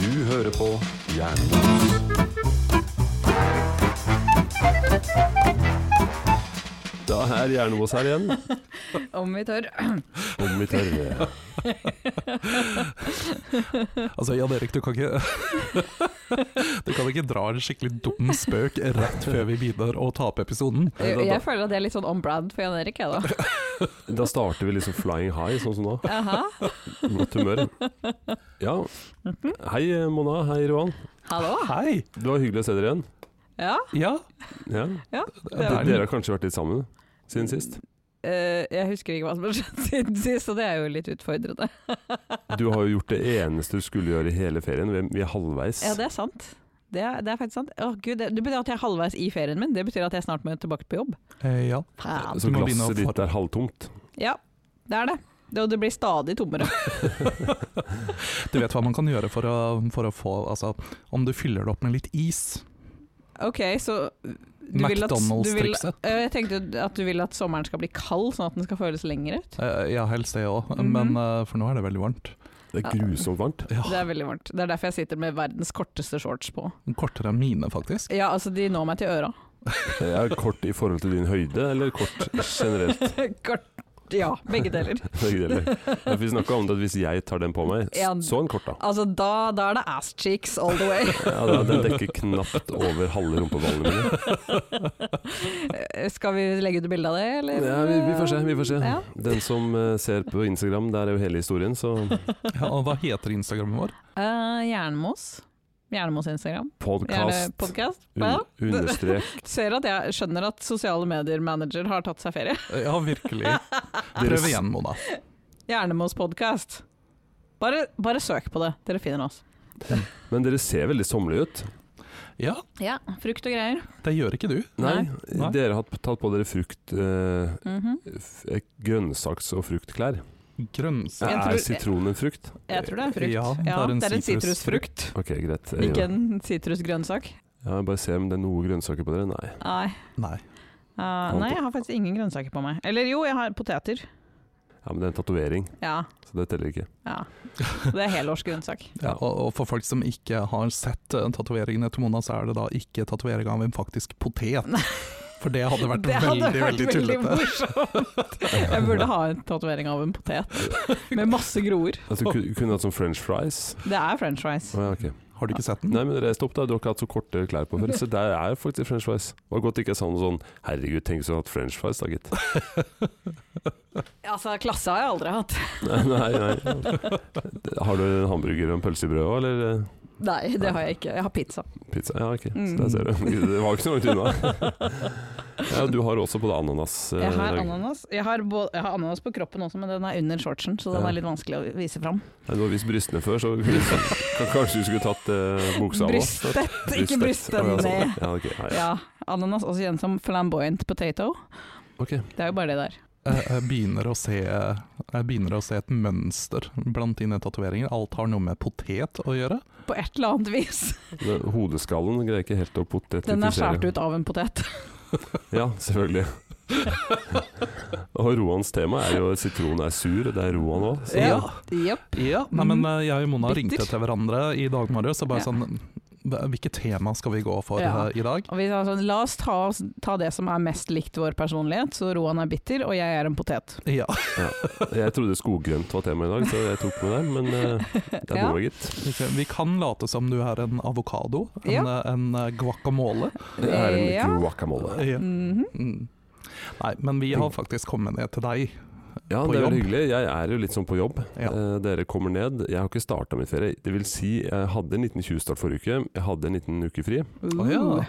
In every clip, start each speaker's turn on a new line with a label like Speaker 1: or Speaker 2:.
Speaker 1: Du hører på Jernbanen. Da er Jernbos her igjen.
Speaker 2: Om vi tør.
Speaker 1: Om vi tør. eh,
Speaker 3: Altså, Jan Erik, du kan ikke Du kan ikke dra en skikkelig dum spøk rett før vi begynner å ta opp episoden.
Speaker 2: Jeg, jeg føler at det er litt sånn on brand for Jan Erik, jeg da.
Speaker 1: Da starter vi liksom flying high, sånn som nå.
Speaker 2: Aha.
Speaker 1: Godt humør. Ja. Hei, eh, Mona. Hei, Roan.
Speaker 2: Hallo.
Speaker 3: Hei!
Speaker 1: Det var hyggelig å se dere igjen.
Speaker 2: Ja,
Speaker 3: Ja,
Speaker 1: Ja.
Speaker 2: ja.
Speaker 3: Det
Speaker 1: D-
Speaker 3: er
Speaker 1: Dere har kanskje vært litt sammen siden sist?
Speaker 2: Eh, jeg husker ikke hva som har skjedd siden sist, så det er jo litt utfordrende.
Speaker 1: Du har jo gjort det eneste du skulle gjøre i hele ferien. Vi er, vi er halvveis.
Speaker 2: Ja, det er sant. Det er, det er faktisk sant. Å gud, det, det betyr at jeg er halvveis i ferien min. Det betyr at jeg snart må tilbake på jobb.
Speaker 3: eh, ja.
Speaker 2: Faen.
Speaker 1: Så
Speaker 3: Du må begynne å
Speaker 1: glasset ditt
Speaker 3: for-
Speaker 1: er halvtomt.
Speaker 2: Ja, det er det. Det, og det blir stadig tommere.
Speaker 3: Du vet hva man kan gjøre for å, for å få Altså, om du fyller det opp med litt is.
Speaker 2: Ok, så du vil at- du vil-
Speaker 3: McDonald's-trikset.
Speaker 2: Eh, Jeg tenkte at du vil at sommeren skal bli kald, sånn at den skal føles lenger ut.
Speaker 3: Eh, ja, helst det òg,
Speaker 2: Mhm.
Speaker 3: men eh, for nå er det veldig varmt.
Speaker 1: Det er
Speaker 2: Ja.
Speaker 1: grusomt varmt.
Speaker 2: Det
Speaker 3: Ja,
Speaker 2: er veldig varmt. Det er derfor jeg sitter med verdens korteste shorts på.
Speaker 3: Kortere enn mine, faktisk.
Speaker 2: Ja, altså, de når meg til øra.
Speaker 1: Er det kort i forhold til din høyde, eller kort generelt?
Speaker 2: Kort Ja, begge deler.
Speaker 1: Begge deler. Ja, Vi snakka om det at hvis jeg tar den på meg, s-
Speaker 2: Ja.
Speaker 1: så en kort, da.
Speaker 2: Altså, da, da er det ass cheeks all the way.
Speaker 1: Ja, da- Den dekker knapt over halve rumpeballene mine.
Speaker 2: Eh, Skal vi legge ut bilde av det, eller?
Speaker 1: Ja, vi, vi får se. vi får se
Speaker 2: Ja.
Speaker 1: Den som eh, ser på Instagram, der er jo hele historien, så
Speaker 3: Ja, og hva heter Instagrammen vår?
Speaker 2: Eh, Jernmos. Jernmos Instagram. Gjerne
Speaker 1: podkast
Speaker 2: podcast. Ja.
Speaker 1: un understrek
Speaker 2: Ser at jeg skjønner at sosiale medier-manager har tatt seg ferie.
Speaker 3: Eh, Ja, virkelig. Prøv
Speaker 1: Dere,
Speaker 3: igjen, Mona.
Speaker 2: Jernemos podkast. Bare, bare søk på det, dere finner oss.
Speaker 1: men dere ser veldig sommerlige ut.
Speaker 3: Ja,
Speaker 2: Ja, frukt og greier.
Speaker 3: det gjør ikke du.
Speaker 1: Nei,
Speaker 3: Nei.
Speaker 1: dere har tatt på dere frukt eh,
Speaker 2: Mhm.
Speaker 1: f- eh, grønnsaks- og fruktklær.
Speaker 3: Grønnsak.
Speaker 2: Jeg
Speaker 1: Er
Speaker 2: tror-
Speaker 1: sitron en frukt?
Speaker 2: Jeg tror det er frukt.
Speaker 3: Ja, det er en
Speaker 2: sitrusfrukt.
Speaker 1: Ok, greit. Jeg gjør
Speaker 2: Ikke
Speaker 1: det.
Speaker 2: en sitrusgrønnsak.
Speaker 1: Ja, jeg bare se om det er noe grønnsaker på dere. Nei.
Speaker 2: Nei.
Speaker 3: Nei.
Speaker 2: Eh, nei, jeg har faktisk ingen grønnsaker på meg. Eller jo, jeg har poteter.
Speaker 1: Ja, Men det er en tatovering,
Speaker 2: Ja.
Speaker 1: så det teller ikke.
Speaker 2: ja. Det er helårsgrønnsak.
Speaker 3: Ja, og, og for folk som ikke har sett eh, tatoveringene til Mona, så er det da ikke tatovering av en faktisk potet. For det hadde vært veldig, veldig tullete.
Speaker 2: morsomt. Jeg burde ha en tatovering av en potet med masse groer.
Speaker 1: Altså, ku- kunne hatt sånn french fries.
Speaker 2: Det er french fries.
Speaker 1: Å, ja, ok.
Speaker 3: Har du ikke sett den?
Speaker 1: Nei, men reis deg opp, da. Du har ikke hatt så korte klær på før. Så der er faktisk french fries. Det var godt det ikke jeg sa noe sånn Herregud, tenk hvis du hadde hatt french fries, da, gitt.
Speaker 2: Altså, klasse har jeg aldri hatt.
Speaker 1: Nei, nei, nei. Har du en hamburger og en pølse i brødet òg, eller eh,
Speaker 2: Nei, det har jeg ikke. Jeg har pizza.
Speaker 1: pizza? Ja, ok. Så
Speaker 2: Mm.
Speaker 1: der ser du. Det var ikke så langt unna. Ja, du har også på deg ananas. eh,
Speaker 2: Jeg har
Speaker 1: Dag.
Speaker 2: ananas. Jeg har, bå- jeg har ananas på kroppen også, men den er under shortsen, så den
Speaker 1: Ja.
Speaker 2: er litt vanskelig å vise fram.
Speaker 1: Nei, du har vist brystene før, så kan- kanskje du skulle tatt eh, buksa av også.
Speaker 2: Brystet, ikke
Speaker 1: Å, ja,
Speaker 2: brystet
Speaker 1: sånn.
Speaker 2: ned.
Speaker 1: Ja, ok. Nei,
Speaker 2: Ja, ananas også kjent som flamboyant potato.
Speaker 1: ok.
Speaker 2: Det er jo bare det der.
Speaker 3: Jeg, jeg, Eh, begynner å se, jeg begynner å se et mønster blant dine tatoveringer. Alt har noe med potet å gjøre.
Speaker 2: På et eller annet vis.
Speaker 1: Men Hodeskallen greier ikke helt å potetifisere.
Speaker 2: Den er skåret ut av en potet.
Speaker 1: Ja, selvfølgelig. og Roans tema er jo sitron er sur, det er Roan òg.
Speaker 3: Ja.
Speaker 2: Jepp.
Speaker 3: Ja, nei, men eh, jeg og Mona
Speaker 2: Bitter.
Speaker 3: ringte til hverandre i dag morges og bare
Speaker 2: Ja.
Speaker 3: sånn Hvilket tema skal vi gå for
Speaker 2: Ja.
Speaker 3: eh, i dag?
Speaker 2: Og vi sa sånn, La oss ta, oss- ta det som er mest likt vår personlighet, så Roan er bitter og jeg er en potet.
Speaker 3: Ja.
Speaker 1: Jeg trodde skoggrønt var tema i dag, så jeg tok med deg, men eh, det er
Speaker 2: Ja.
Speaker 1: noe, gitt.
Speaker 3: Vi kan- Vi kan late som du er en avokado, en,
Speaker 2: Ja.
Speaker 3: eh, en eh, guacamole.
Speaker 1: Det er en
Speaker 2: Ja.
Speaker 1: guacamole.
Speaker 3: Ja.
Speaker 2: Mhm.
Speaker 3: Mm. Nei, men vi har faktisk kommet ned til deg.
Speaker 1: Ja,
Speaker 3: På
Speaker 1: det er
Speaker 3: jobb.
Speaker 1: veldig hyggelig. Jeg er jo litt sånn på jobb.
Speaker 3: Ja.
Speaker 1: Eh, dere kommer ned. Jeg har ikke starta min ferie. Det vil si, jeg hadde en 1920-start forrige uke. Jeg hadde en liten uke fri.
Speaker 2: Uh.
Speaker 3: Å, ja.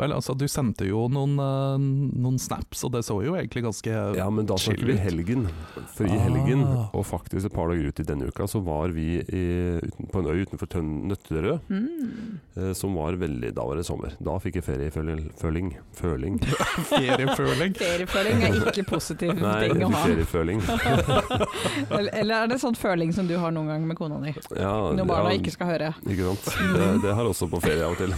Speaker 3: Vel, altså, du sendte jo noen, eh, noen snaps, og det så jo egentlig ganske
Speaker 1: Ja, men da
Speaker 3: Chill
Speaker 1: snakker vi
Speaker 3: ut.
Speaker 1: helgen. For i
Speaker 3: Ah.
Speaker 1: helgen, og faktisk et par dager ut i denne uka, så var vi i, uten, på en øy utenfor Tønn- Nøtterøy,
Speaker 2: Mm.
Speaker 1: eh, som var veldig Da var det sommer. Da fikk jeg ferieføling. Føling.
Speaker 3: ferieføling.
Speaker 2: Ferieføling er ikke positiv
Speaker 1: Nei,
Speaker 2: ting å ha.
Speaker 1: ferieføling.
Speaker 2: Eller, eller er det sånn føling som du har noen gang med kona di?
Speaker 1: Ja,
Speaker 2: Når barna
Speaker 1: ja,
Speaker 2: ikke skal høre.
Speaker 1: ikke sant. Det, det har også på ferie av og til.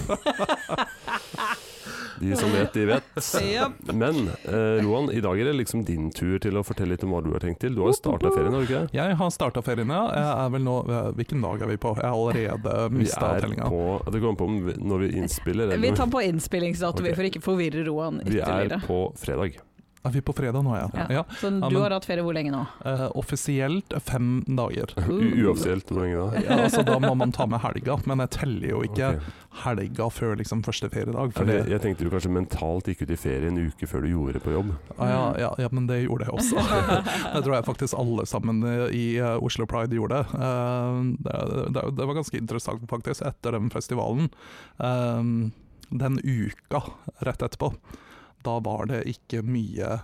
Speaker 1: De som vet, de vet.
Speaker 2: Japp.
Speaker 1: Men eh, Roan, i dag er det liksom din tur til å fortelle litt om hva du har tenkt til. Du har jo starta ferien, har du ikke? det?
Speaker 3: Jeg har starta feriene. Jeg er vel nå eh, Hvilken dag er vi på? Jeg har allerede
Speaker 1: Vi
Speaker 3: mista
Speaker 1: er
Speaker 3: tellinga.
Speaker 1: på Det kommer på om vi- når vi innspiller. eller-
Speaker 2: Vi tar på innspillingsdato vi
Speaker 1: Ok.
Speaker 2: for ikke å forvirre Roan
Speaker 1: vi er
Speaker 2: ytterligere.
Speaker 1: på fredag.
Speaker 3: Er vi på fredag nå, ja?
Speaker 2: Ja.
Speaker 3: ja.
Speaker 2: Så du
Speaker 3: Ja, men-
Speaker 2: har hatt ferie hvor lenge nå?
Speaker 3: Eh, offisielt fem dager.
Speaker 2: Uh.
Speaker 1: U uoffisielt hvor lenge da?
Speaker 3: Ja, altså, da må man ta med helga, men jeg teller jo ikke
Speaker 1: Ok.
Speaker 3: helga før liksom, første feriedag.
Speaker 1: Ja,
Speaker 3: Fordi,
Speaker 1: det- jeg tenkte du kanskje mentalt gikk ut i ferie en uke før du gjorde det på jobb.
Speaker 3: ja, Ah, ja, ja, ja, men det gjorde jeg også. Det tror jeg faktisk alle sammen eh, i eh, Oslo Pride gjorde. Eh, det, det, det var ganske interessant, faktisk, etter den festivalen. eh, den uka rett etterpå, da var det ikke mye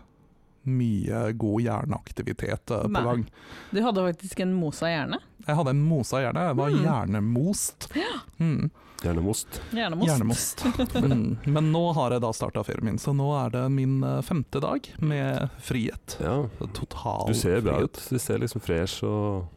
Speaker 3: mye god hjerneaktivitet eh,
Speaker 2: Nei.
Speaker 3: på gang.
Speaker 2: Du hadde faktisk en mosa hjerne.
Speaker 3: Jeg hadde en mosa hjerne. Jeg var
Speaker 2: Mm.
Speaker 3: hjernemost. Mm.
Speaker 1: Gjerne most.
Speaker 2: Hjernemost.
Speaker 3: Hjernemost. Mm. Men nå har jeg da starta ferien min, så nå er det min eh, femte dag med frihet.
Speaker 1: Ja.
Speaker 3: Total
Speaker 1: Du ser bra
Speaker 3: frihet.
Speaker 1: ut. Du ser liksom fresh og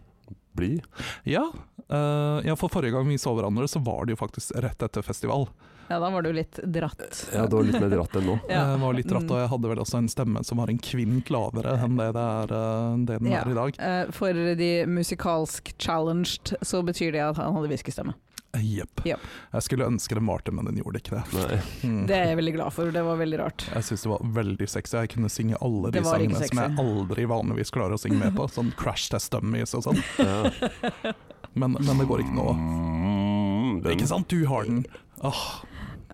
Speaker 1: blid.
Speaker 3: Ja, eh, ja, for forrige gang vi så hverandre, så var det jo faktisk rett etter festival.
Speaker 2: Ja, da var du litt dratt.
Speaker 1: Ja, det var litt mer dratt enn nå.
Speaker 2: Ja. Mm.
Speaker 3: Jeg Eh, var litt ratt, og jeg hadde vel også en stemme som var en kvint lavere enn det, det er, eh, det den
Speaker 2: Ja.
Speaker 3: er i dag.
Speaker 2: Eh, For de musikalsk challenged, så betyr det at han hadde hviskestemme.
Speaker 3: Eh, Jepp.
Speaker 2: Jepp.
Speaker 3: Jeg skulle ønske den var det, men den gjorde ikke det.
Speaker 1: Nei.
Speaker 3: Mm.
Speaker 2: Det er jeg veldig glad for, det var veldig rart.
Speaker 3: Jeg syns det var veldig sexy. Jeg kunne synge alle de
Speaker 2: Det var ikke
Speaker 3: sangene som jeg
Speaker 2: sexy.
Speaker 3: aldri vanligvis klarer å synge med på. Sånn Crash Test Dummies og sånn.
Speaker 1: Ja.
Speaker 3: Men, men det går ikke nå.
Speaker 1: Mm, den-
Speaker 3: Ikke sant, du har den.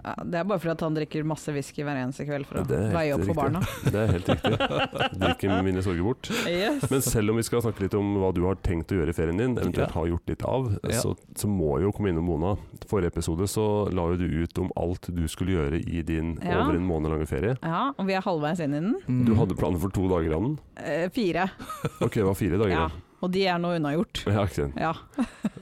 Speaker 2: Ja, Det er bare fordi at han drikker masse whisky hver eneste kveld for å
Speaker 1: Ja, det er helt
Speaker 2: veie opp for
Speaker 1: riktig.
Speaker 2: barna.
Speaker 1: Det er helt riktig. Drikke mine sorger bort.
Speaker 2: Yes.
Speaker 1: Men selv om vi skal snakke litt om hva du har tenkt å gjøre i ferien din, eventuelt
Speaker 3: Ja.
Speaker 1: har gjort litt av,
Speaker 3: Ja.
Speaker 1: så, så må jeg jo komme innom Mona. Forrige episode så la jo du ut om alt du skulle gjøre i din
Speaker 2: Ja.
Speaker 1: over en måned lange ferie.
Speaker 2: Ja, og vi er halvveis inn i den.
Speaker 3: Mm.
Speaker 1: Du hadde planer for to dager av den.
Speaker 2: Eh, fire.
Speaker 1: Ok, det var fire dager.
Speaker 2: Ja.
Speaker 1: da.
Speaker 2: Og de er nå unnagjort.
Speaker 1: Ja, ikke sant.
Speaker 2: Ja.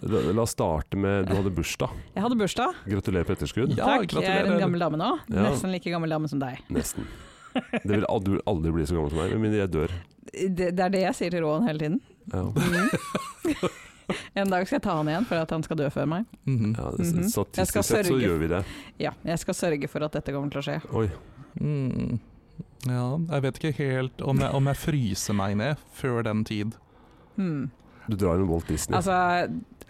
Speaker 1: La la oss starte med Du hadde bursdag.
Speaker 2: Jeg hadde bursdag.
Speaker 1: Gratulerer på etterskudd.
Speaker 3: Ja,
Speaker 2: Takk. Jeg er en
Speaker 3: gratulerer.
Speaker 2: gammel dame nå.
Speaker 1: Ja.
Speaker 2: Nesten like gammel dame som deg.
Speaker 1: Nesten. Det vil al- du vil aldri bli så gammel som meg, med mindre jeg dør.
Speaker 2: Det, det er det jeg sier til Roan hele tiden. Mm.
Speaker 1: Ja.
Speaker 2: En dag skal jeg ta han igjen for at han skal dø før meg.
Speaker 3: Mhm.
Speaker 1: Ja,
Speaker 2: Mhm. Jeg
Speaker 1: s-
Speaker 2: skal
Speaker 1: statistisk sett så
Speaker 2: sørge.
Speaker 1: gjør vi det.
Speaker 2: Ja, jeg skal sørge for at dette kommer til å skje.
Speaker 1: Oi.
Speaker 3: Mm. Ja, jeg vet ikke helt om jeg, om jeg fryser meg ned før den tid.
Speaker 2: Hmm.
Speaker 1: Du drar en Walt Disney.
Speaker 2: Altså,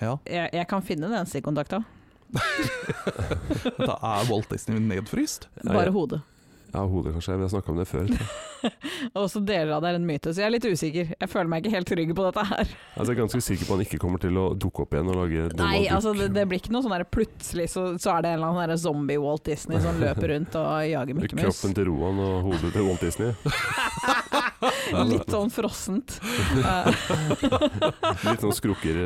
Speaker 3: Ja,
Speaker 2: jeg, jeg kan finne den stikkontakta.
Speaker 3: Da er Walt Disney nedfryst.
Speaker 1: Ja,
Speaker 2: Bare
Speaker 1: ja.
Speaker 2: hodet.
Speaker 1: Ja, hodet kanskje. Vi har snakka om det før.
Speaker 2: Og så deler av det er en myte, så jeg er litt usikker. Jeg føler meg ikke helt trygg på dette her.
Speaker 1: Altså, jeg er ganske sikker på at han ikke kommer til å dukke opp igjen og lage Donald
Speaker 2: Nei,
Speaker 1: Duck.
Speaker 2: altså det, det blir ikke noe sånn der plutselig så, så er det en eller annen sånn der zombie Walt Disney som løper rundt og jager Mikke Mus.
Speaker 1: Kroppen til Roan og hodet til Walt Disney.
Speaker 2: Litt sånn frossent. Eh,
Speaker 1: Litt sånn skrukker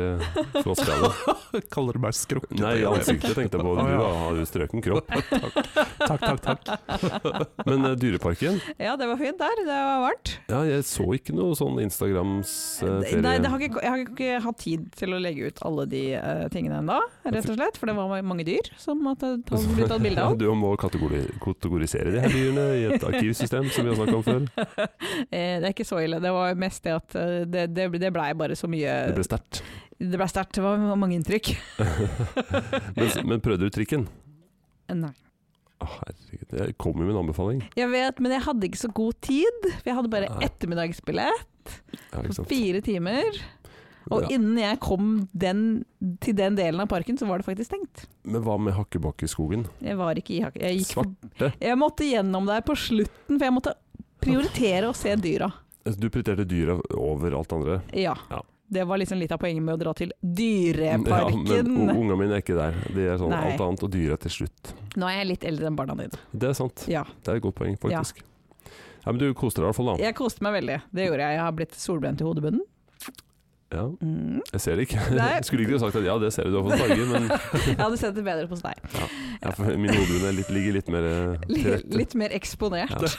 Speaker 1: flåskade.
Speaker 3: Kaller det meg skrukket.
Speaker 1: Nei, i ansiktet tenkte jeg på. Du
Speaker 3: Å, ja.
Speaker 1: har jo strøken kropp.
Speaker 3: Takk, takk, takk.
Speaker 1: Men eh, Dyreparken?
Speaker 2: ja, det var fint der. Det var varmt.
Speaker 1: Ja, jeg så ikke noe sånn Instagrams eh, ferie...
Speaker 2: Nei, det har ikke, jeg har ikke hatt tid til å legge ut alle de eh, tingene ennå, rett og slett. For det var mange dyr som måtte ta- bli tatt bilde av.
Speaker 1: Du må kategori- kategorisere de her dyrene i et arkivsystem, som vi har snakka om før.
Speaker 2: Eh, Det er ikke så ille. Det var mest det at eh, det, det, det blei bare så mye
Speaker 1: Det ble sterkt.
Speaker 2: Det blei sterkt. Det var mange inntrykk.
Speaker 1: Men, men prøvde du trikken?
Speaker 2: Nei.
Speaker 1: Å, herregud. Jeg kom jo med en anbefaling.
Speaker 2: Jeg vet, men jeg hadde ikke så god tid. For jeg hadde bare
Speaker 1: Nei.
Speaker 2: ettermiddagsbillett
Speaker 1: Ja, ikke
Speaker 2: på
Speaker 1: sant?
Speaker 2: fire timer. Og
Speaker 1: Ja.
Speaker 2: innen jeg kom den, til den delen av parken, så var det faktisk stengt.
Speaker 1: Men hva med Hakkebakkeskogen?
Speaker 2: Jeg var ikke i hakke... Jeg, gikk for-
Speaker 1: Svarte?
Speaker 2: jeg måtte gjennom der på slutten, for jeg måtte prioritere å se dyra.
Speaker 1: Altså, Du prioriterte dyra over alt andre.
Speaker 2: Ja.
Speaker 1: Ja.
Speaker 2: Det var liksom litt av poenget med å dra til
Speaker 1: Ja,
Speaker 2: Dyreparken.
Speaker 1: men u- unga mine er ikke der. De er sånn
Speaker 2: Nei.
Speaker 1: alt annet, og dyra til slutt.
Speaker 2: Nå er jeg litt eldre enn barna dine.
Speaker 1: Det er sant.
Speaker 2: Ja.
Speaker 1: Det er et godt poeng, faktisk. Ja. men du koste deg i hvert fall, da.
Speaker 2: Jeg koste meg veldig. Det gjorde jeg. Jeg har blitt solbrent i hodebunnen.
Speaker 1: Ja,
Speaker 2: Mm.
Speaker 1: jeg ser det ikke.
Speaker 2: Nei.
Speaker 1: Skulle ikke du sagt at ja, det ser du, du har fått farger, men
Speaker 2: Jeg hadde sett det bedre hos deg.
Speaker 1: ja, for min hodebunn er litt, ligger litt mer eh, til
Speaker 2: Litt,
Speaker 1: rette.
Speaker 2: litt mer eksponert.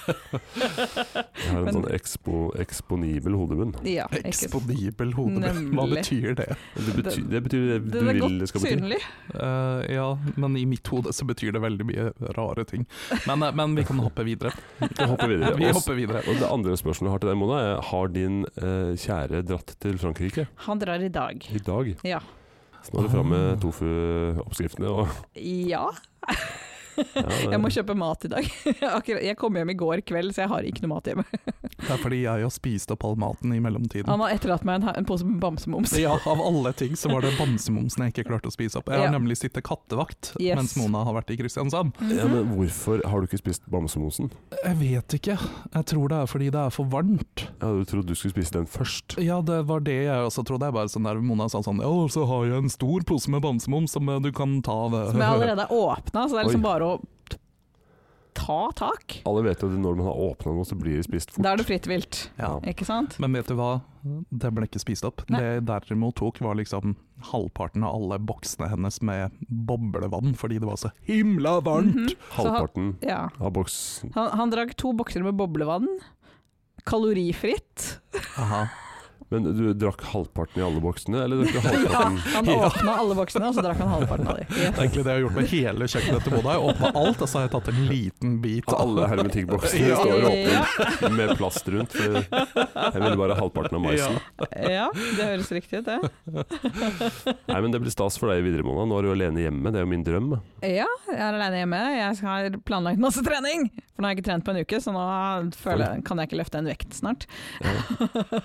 Speaker 1: Jeg har en
Speaker 2: men-
Speaker 1: sånn ekspo, eksponibel hodebunn.
Speaker 2: Ja, ikke sant.
Speaker 3: Eksponibel hodebunn. Hva
Speaker 2: Nemlig.
Speaker 3: betyr det?
Speaker 1: Det betyr det, betyr det du
Speaker 2: Den er
Speaker 1: vil det
Speaker 2: godt
Speaker 1: skal bety.
Speaker 2: synlig.
Speaker 3: Eh, ja, men i mitt hode så betyr det veldig mye rare ting. Men, eh, men vi kan hoppe videre.
Speaker 1: Vi hopper videre.
Speaker 3: Vi
Speaker 1: Og-
Speaker 3: hopper videre.
Speaker 1: Og det andre spørsmålet jeg har til deg, Mona, er har din eh, kjære dratt til Frankrike
Speaker 2: Han drar i dag.
Speaker 1: i dag?
Speaker 2: Ja.
Speaker 1: Ah. Så nå er det fram med tofu-oppskriftene og
Speaker 2: Ja.
Speaker 1: Ja,
Speaker 2: Jeg må
Speaker 1: det-
Speaker 2: kjøpe mat i dag. Akkurat, jeg kom hjem i går kveld, så jeg har ikke noe mat hjemme.
Speaker 3: Det er fordi jeg har spist opp all maten i mellomtiden.
Speaker 2: Han har etterlatt meg en, ha- en pose med bamsemums.
Speaker 3: Ja, Av alle ting så var det bamsemumsen jeg ikke klarte å spise opp. Jeg har
Speaker 2: Ja.
Speaker 3: nemlig sittet kattevakt
Speaker 2: Yes.
Speaker 3: mens Mona har vært i Kristiansand.
Speaker 2: Mhm.
Speaker 1: ja, men hvorfor har du ikke spist bamsemosen?
Speaker 3: Jeg vet ikke, jeg tror det er fordi det er for varmt.
Speaker 1: Jeg hadde jo trodd du skulle spise den først.
Speaker 3: Ja, det var det jeg også trodde. Jeg bare sånn der, Mona sa sånn Ja, så har jeg en stor pose med bamsemums som eh, du kan ta av. eh,
Speaker 2: Som jeg allerede har åpna, så det er liksom
Speaker 1: Oi.
Speaker 2: bare å t- ta tak.
Speaker 1: Alle vet jo at når man har åpna noe, så blir det spist fort.
Speaker 2: Da er det fritt vilt,
Speaker 3: Ja.
Speaker 2: ikke sant?
Speaker 3: Men vet du hva? Den ble ikke spist opp.
Speaker 2: Nei.
Speaker 3: Det jeg derimot tok, var liksom halvparten av alle boksene hennes med boblevann, fordi det var så himla varmt!
Speaker 2: Mhm. Så han-
Speaker 1: Halvparten
Speaker 2: Ja.
Speaker 1: av boksen.
Speaker 2: Han, han drakk to bokser med boblevann. Kalorifritt.
Speaker 3: Aha.
Speaker 1: Men du drakk halvparten i alle boksene, eller drakk du
Speaker 2: Ja,
Speaker 1: halvparten?
Speaker 2: han åpna alle boksene, og så drakk han halvparten av dem.
Speaker 3: Det er egentlig det jeg har gjort med hele kjøkkenet til Mona. Jeg åpna alt, og så har jeg tatt en liten bit.
Speaker 1: Så alle hermetikkboksene
Speaker 3: Ja.
Speaker 1: står åpne med plast rundt. For jeg ville bare ha halvparten av maisen.
Speaker 2: Ja, det høres riktig ut, det.
Speaker 1: Nei, men Det blir stas for deg i videre måned. Nå er du alene hjemme, det er jo min drøm.
Speaker 2: Ja, jeg er aleine hjemme. Jeg har planlagt masse trening! For nå har jeg ikke trent på en uke, så nå føler jeg, kan jeg ikke løfte en vekt snart.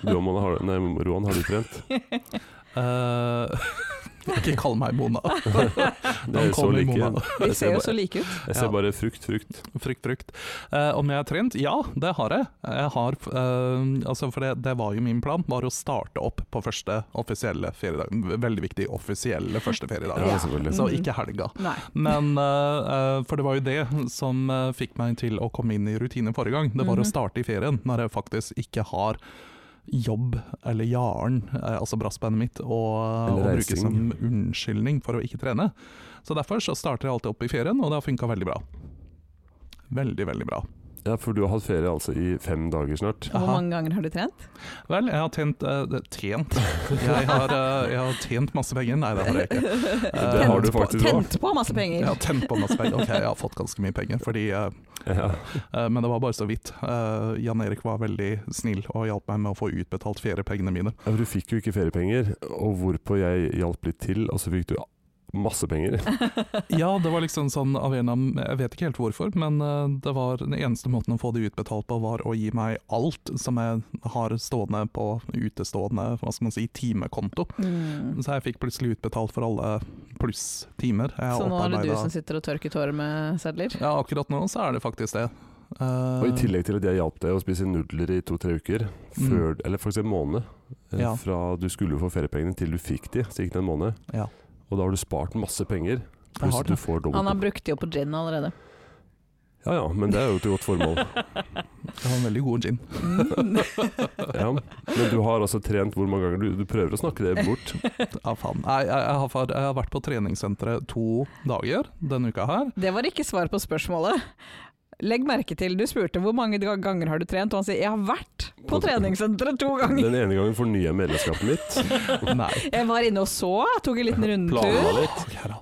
Speaker 1: Du og Mona har, nei, Roan, har du trent?
Speaker 3: Eh, ikke kall meg Mona.
Speaker 1: Dere så
Speaker 3: kommer
Speaker 1: like.
Speaker 3: Mona.
Speaker 2: Vi
Speaker 1: Jeg ser
Speaker 2: ser jo
Speaker 1: bare-
Speaker 2: så like ut.
Speaker 1: Jeg ser
Speaker 3: Ja.
Speaker 1: bare frukt, frukt.
Speaker 3: Frykt, frykt. Eh, om jeg har trent? Ja, det har jeg. jeg har, eh, altså for det, det var jo min plan, var å starte opp på første offisielle feriedag. Veldig viktig, offisielle første feriedag.
Speaker 1: Ja, selvfølgelig.
Speaker 3: Så ikke helga.
Speaker 2: Nei.
Speaker 3: Men eh, eh, For det var jo det som eh, fikk meg til å komme inn i rutine forrige gang. Det var
Speaker 2: Mhm.
Speaker 3: å starte i ferien når jeg faktisk ikke har jobb eller jaren, eh, altså brassbandet mitt, og, og
Speaker 1: Eller
Speaker 3: bruke
Speaker 1: reising.
Speaker 3: som unnskyldning for å ikke trene. Så derfor så starter jeg alltid opp i ferien, og det har funka veldig bra. Veldig, veldig bra.
Speaker 1: Ja, For du har hatt ferie altså i fem dager snart.
Speaker 2: Hvor
Speaker 3: Aha.
Speaker 2: mange ganger har du trent?
Speaker 3: Vel, jeg har tjent eh, det- Tjent? Jeg har, eh, jeg har tjent masse penger. Nei, det har jeg ikke. Eh,
Speaker 1: Det har du
Speaker 2: Tent på-
Speaker 1: faktisk også.
Speaker 2: Tent på masse penger!
Speaker 3: Jeg har tjent på masse penger. Ok, jeg har fått ganske mye penger, fordi eh,
Speaker 1: Ja.
Speaker 3: Eh, Men det var bare så vidt. Eh, Jan Erik var veldig snill og hjalp meg med å få utbetalt feriepengene mine.
Speaker 1: Ja, for Du fikk jo ikke feriepenger, og hvorpå jeg hjalp litt til, og så fikk du masse penger.
Speaker 3: Ja, det var liksom sånn av en av, Jeg vet ikke helt hvorfor, men eh, det var den eneste måten å få det utbetalt på, var å gi meg alt som jeg har stående på utestående hva skal man si, timekonto.
Speaker 2: Mm.
Speaker 3: Så jeg fikk plutselig utbetalt for alle pluss-timer. jeg har
Speaker 2: Så nå er det du
Speaker 3: opparbeidet.
Speaker 2: som sitter og tørker tårer med sedler?
Speaker 3: Ja, akkurat nå så er det faktisk det. Eh,
Speaker 1: Og I tillegg til at jeg hjalp deg å spise nudler i to-tre uker,
Speaker 2: Mm.
Speaker 1: før, eller faktisk en måned, eh,
Speaker 3: Ja.
Speaker 1: fra du skulle få feriepengene til du fikk de, så gikk det en måned.
Speaker 3: Eh, Ja.
Speaker 1: Og da har du spart masse penger,
Speaker 3: Jeg
Speaker 1: pluss
Speaker 3: har
Speaker 1: at du
Speaker 3: det.
Speaker 1: får
Speaker 2: Han
Speaker 1: dobbelt.
Speaker 2: har brukt de opp på gin allerede.
Speaker 1: Ja ja, men det er jo til godt formål.
Speaker 3: Jeg har en veldig god gin.
Speaker 2: Mm.
Speaker 1: Ja. Men du har altså trent hvor mange ganger? Du, du prøver å snakke det bort.
Speaker 3: Ja, faen. Nei, jeg, jeg, har, far- jeg har vært på treningssenteret to dager denne uka her.
Speaker 2: Det var ikke svar på spørsmålet. Legg merke til, du spurte hvor mange ga- ganger har du trent, og han sier jeg har vært på treningssenteret to ganger.
Speaker 1: Den ene gangen fornya jeg medlemskapet mitt.
Speaker 3: Nei.
Speaker 2: Jeg var inne og så, tok en liten rundtur.
Speaker 1: Planla litt.
Speaker 3: Ok, da.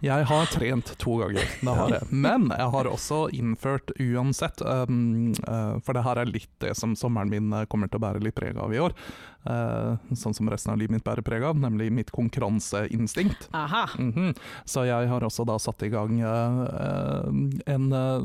Speaker 3: Jeg har trent to ganger, det har jeg. Men jeg har også innført uansett, um, eh, for det her er litt det som sommeren min eh, kommer til å bære litt preg av i år. eh, sånn som resten av livet mitt bærer preg av, nemlig mitt konkurranseinstinkt.
Speaker 2: Aha.
Speaker 3: Mhm. Så jeg har også da satt i gang eh, eh, en eh,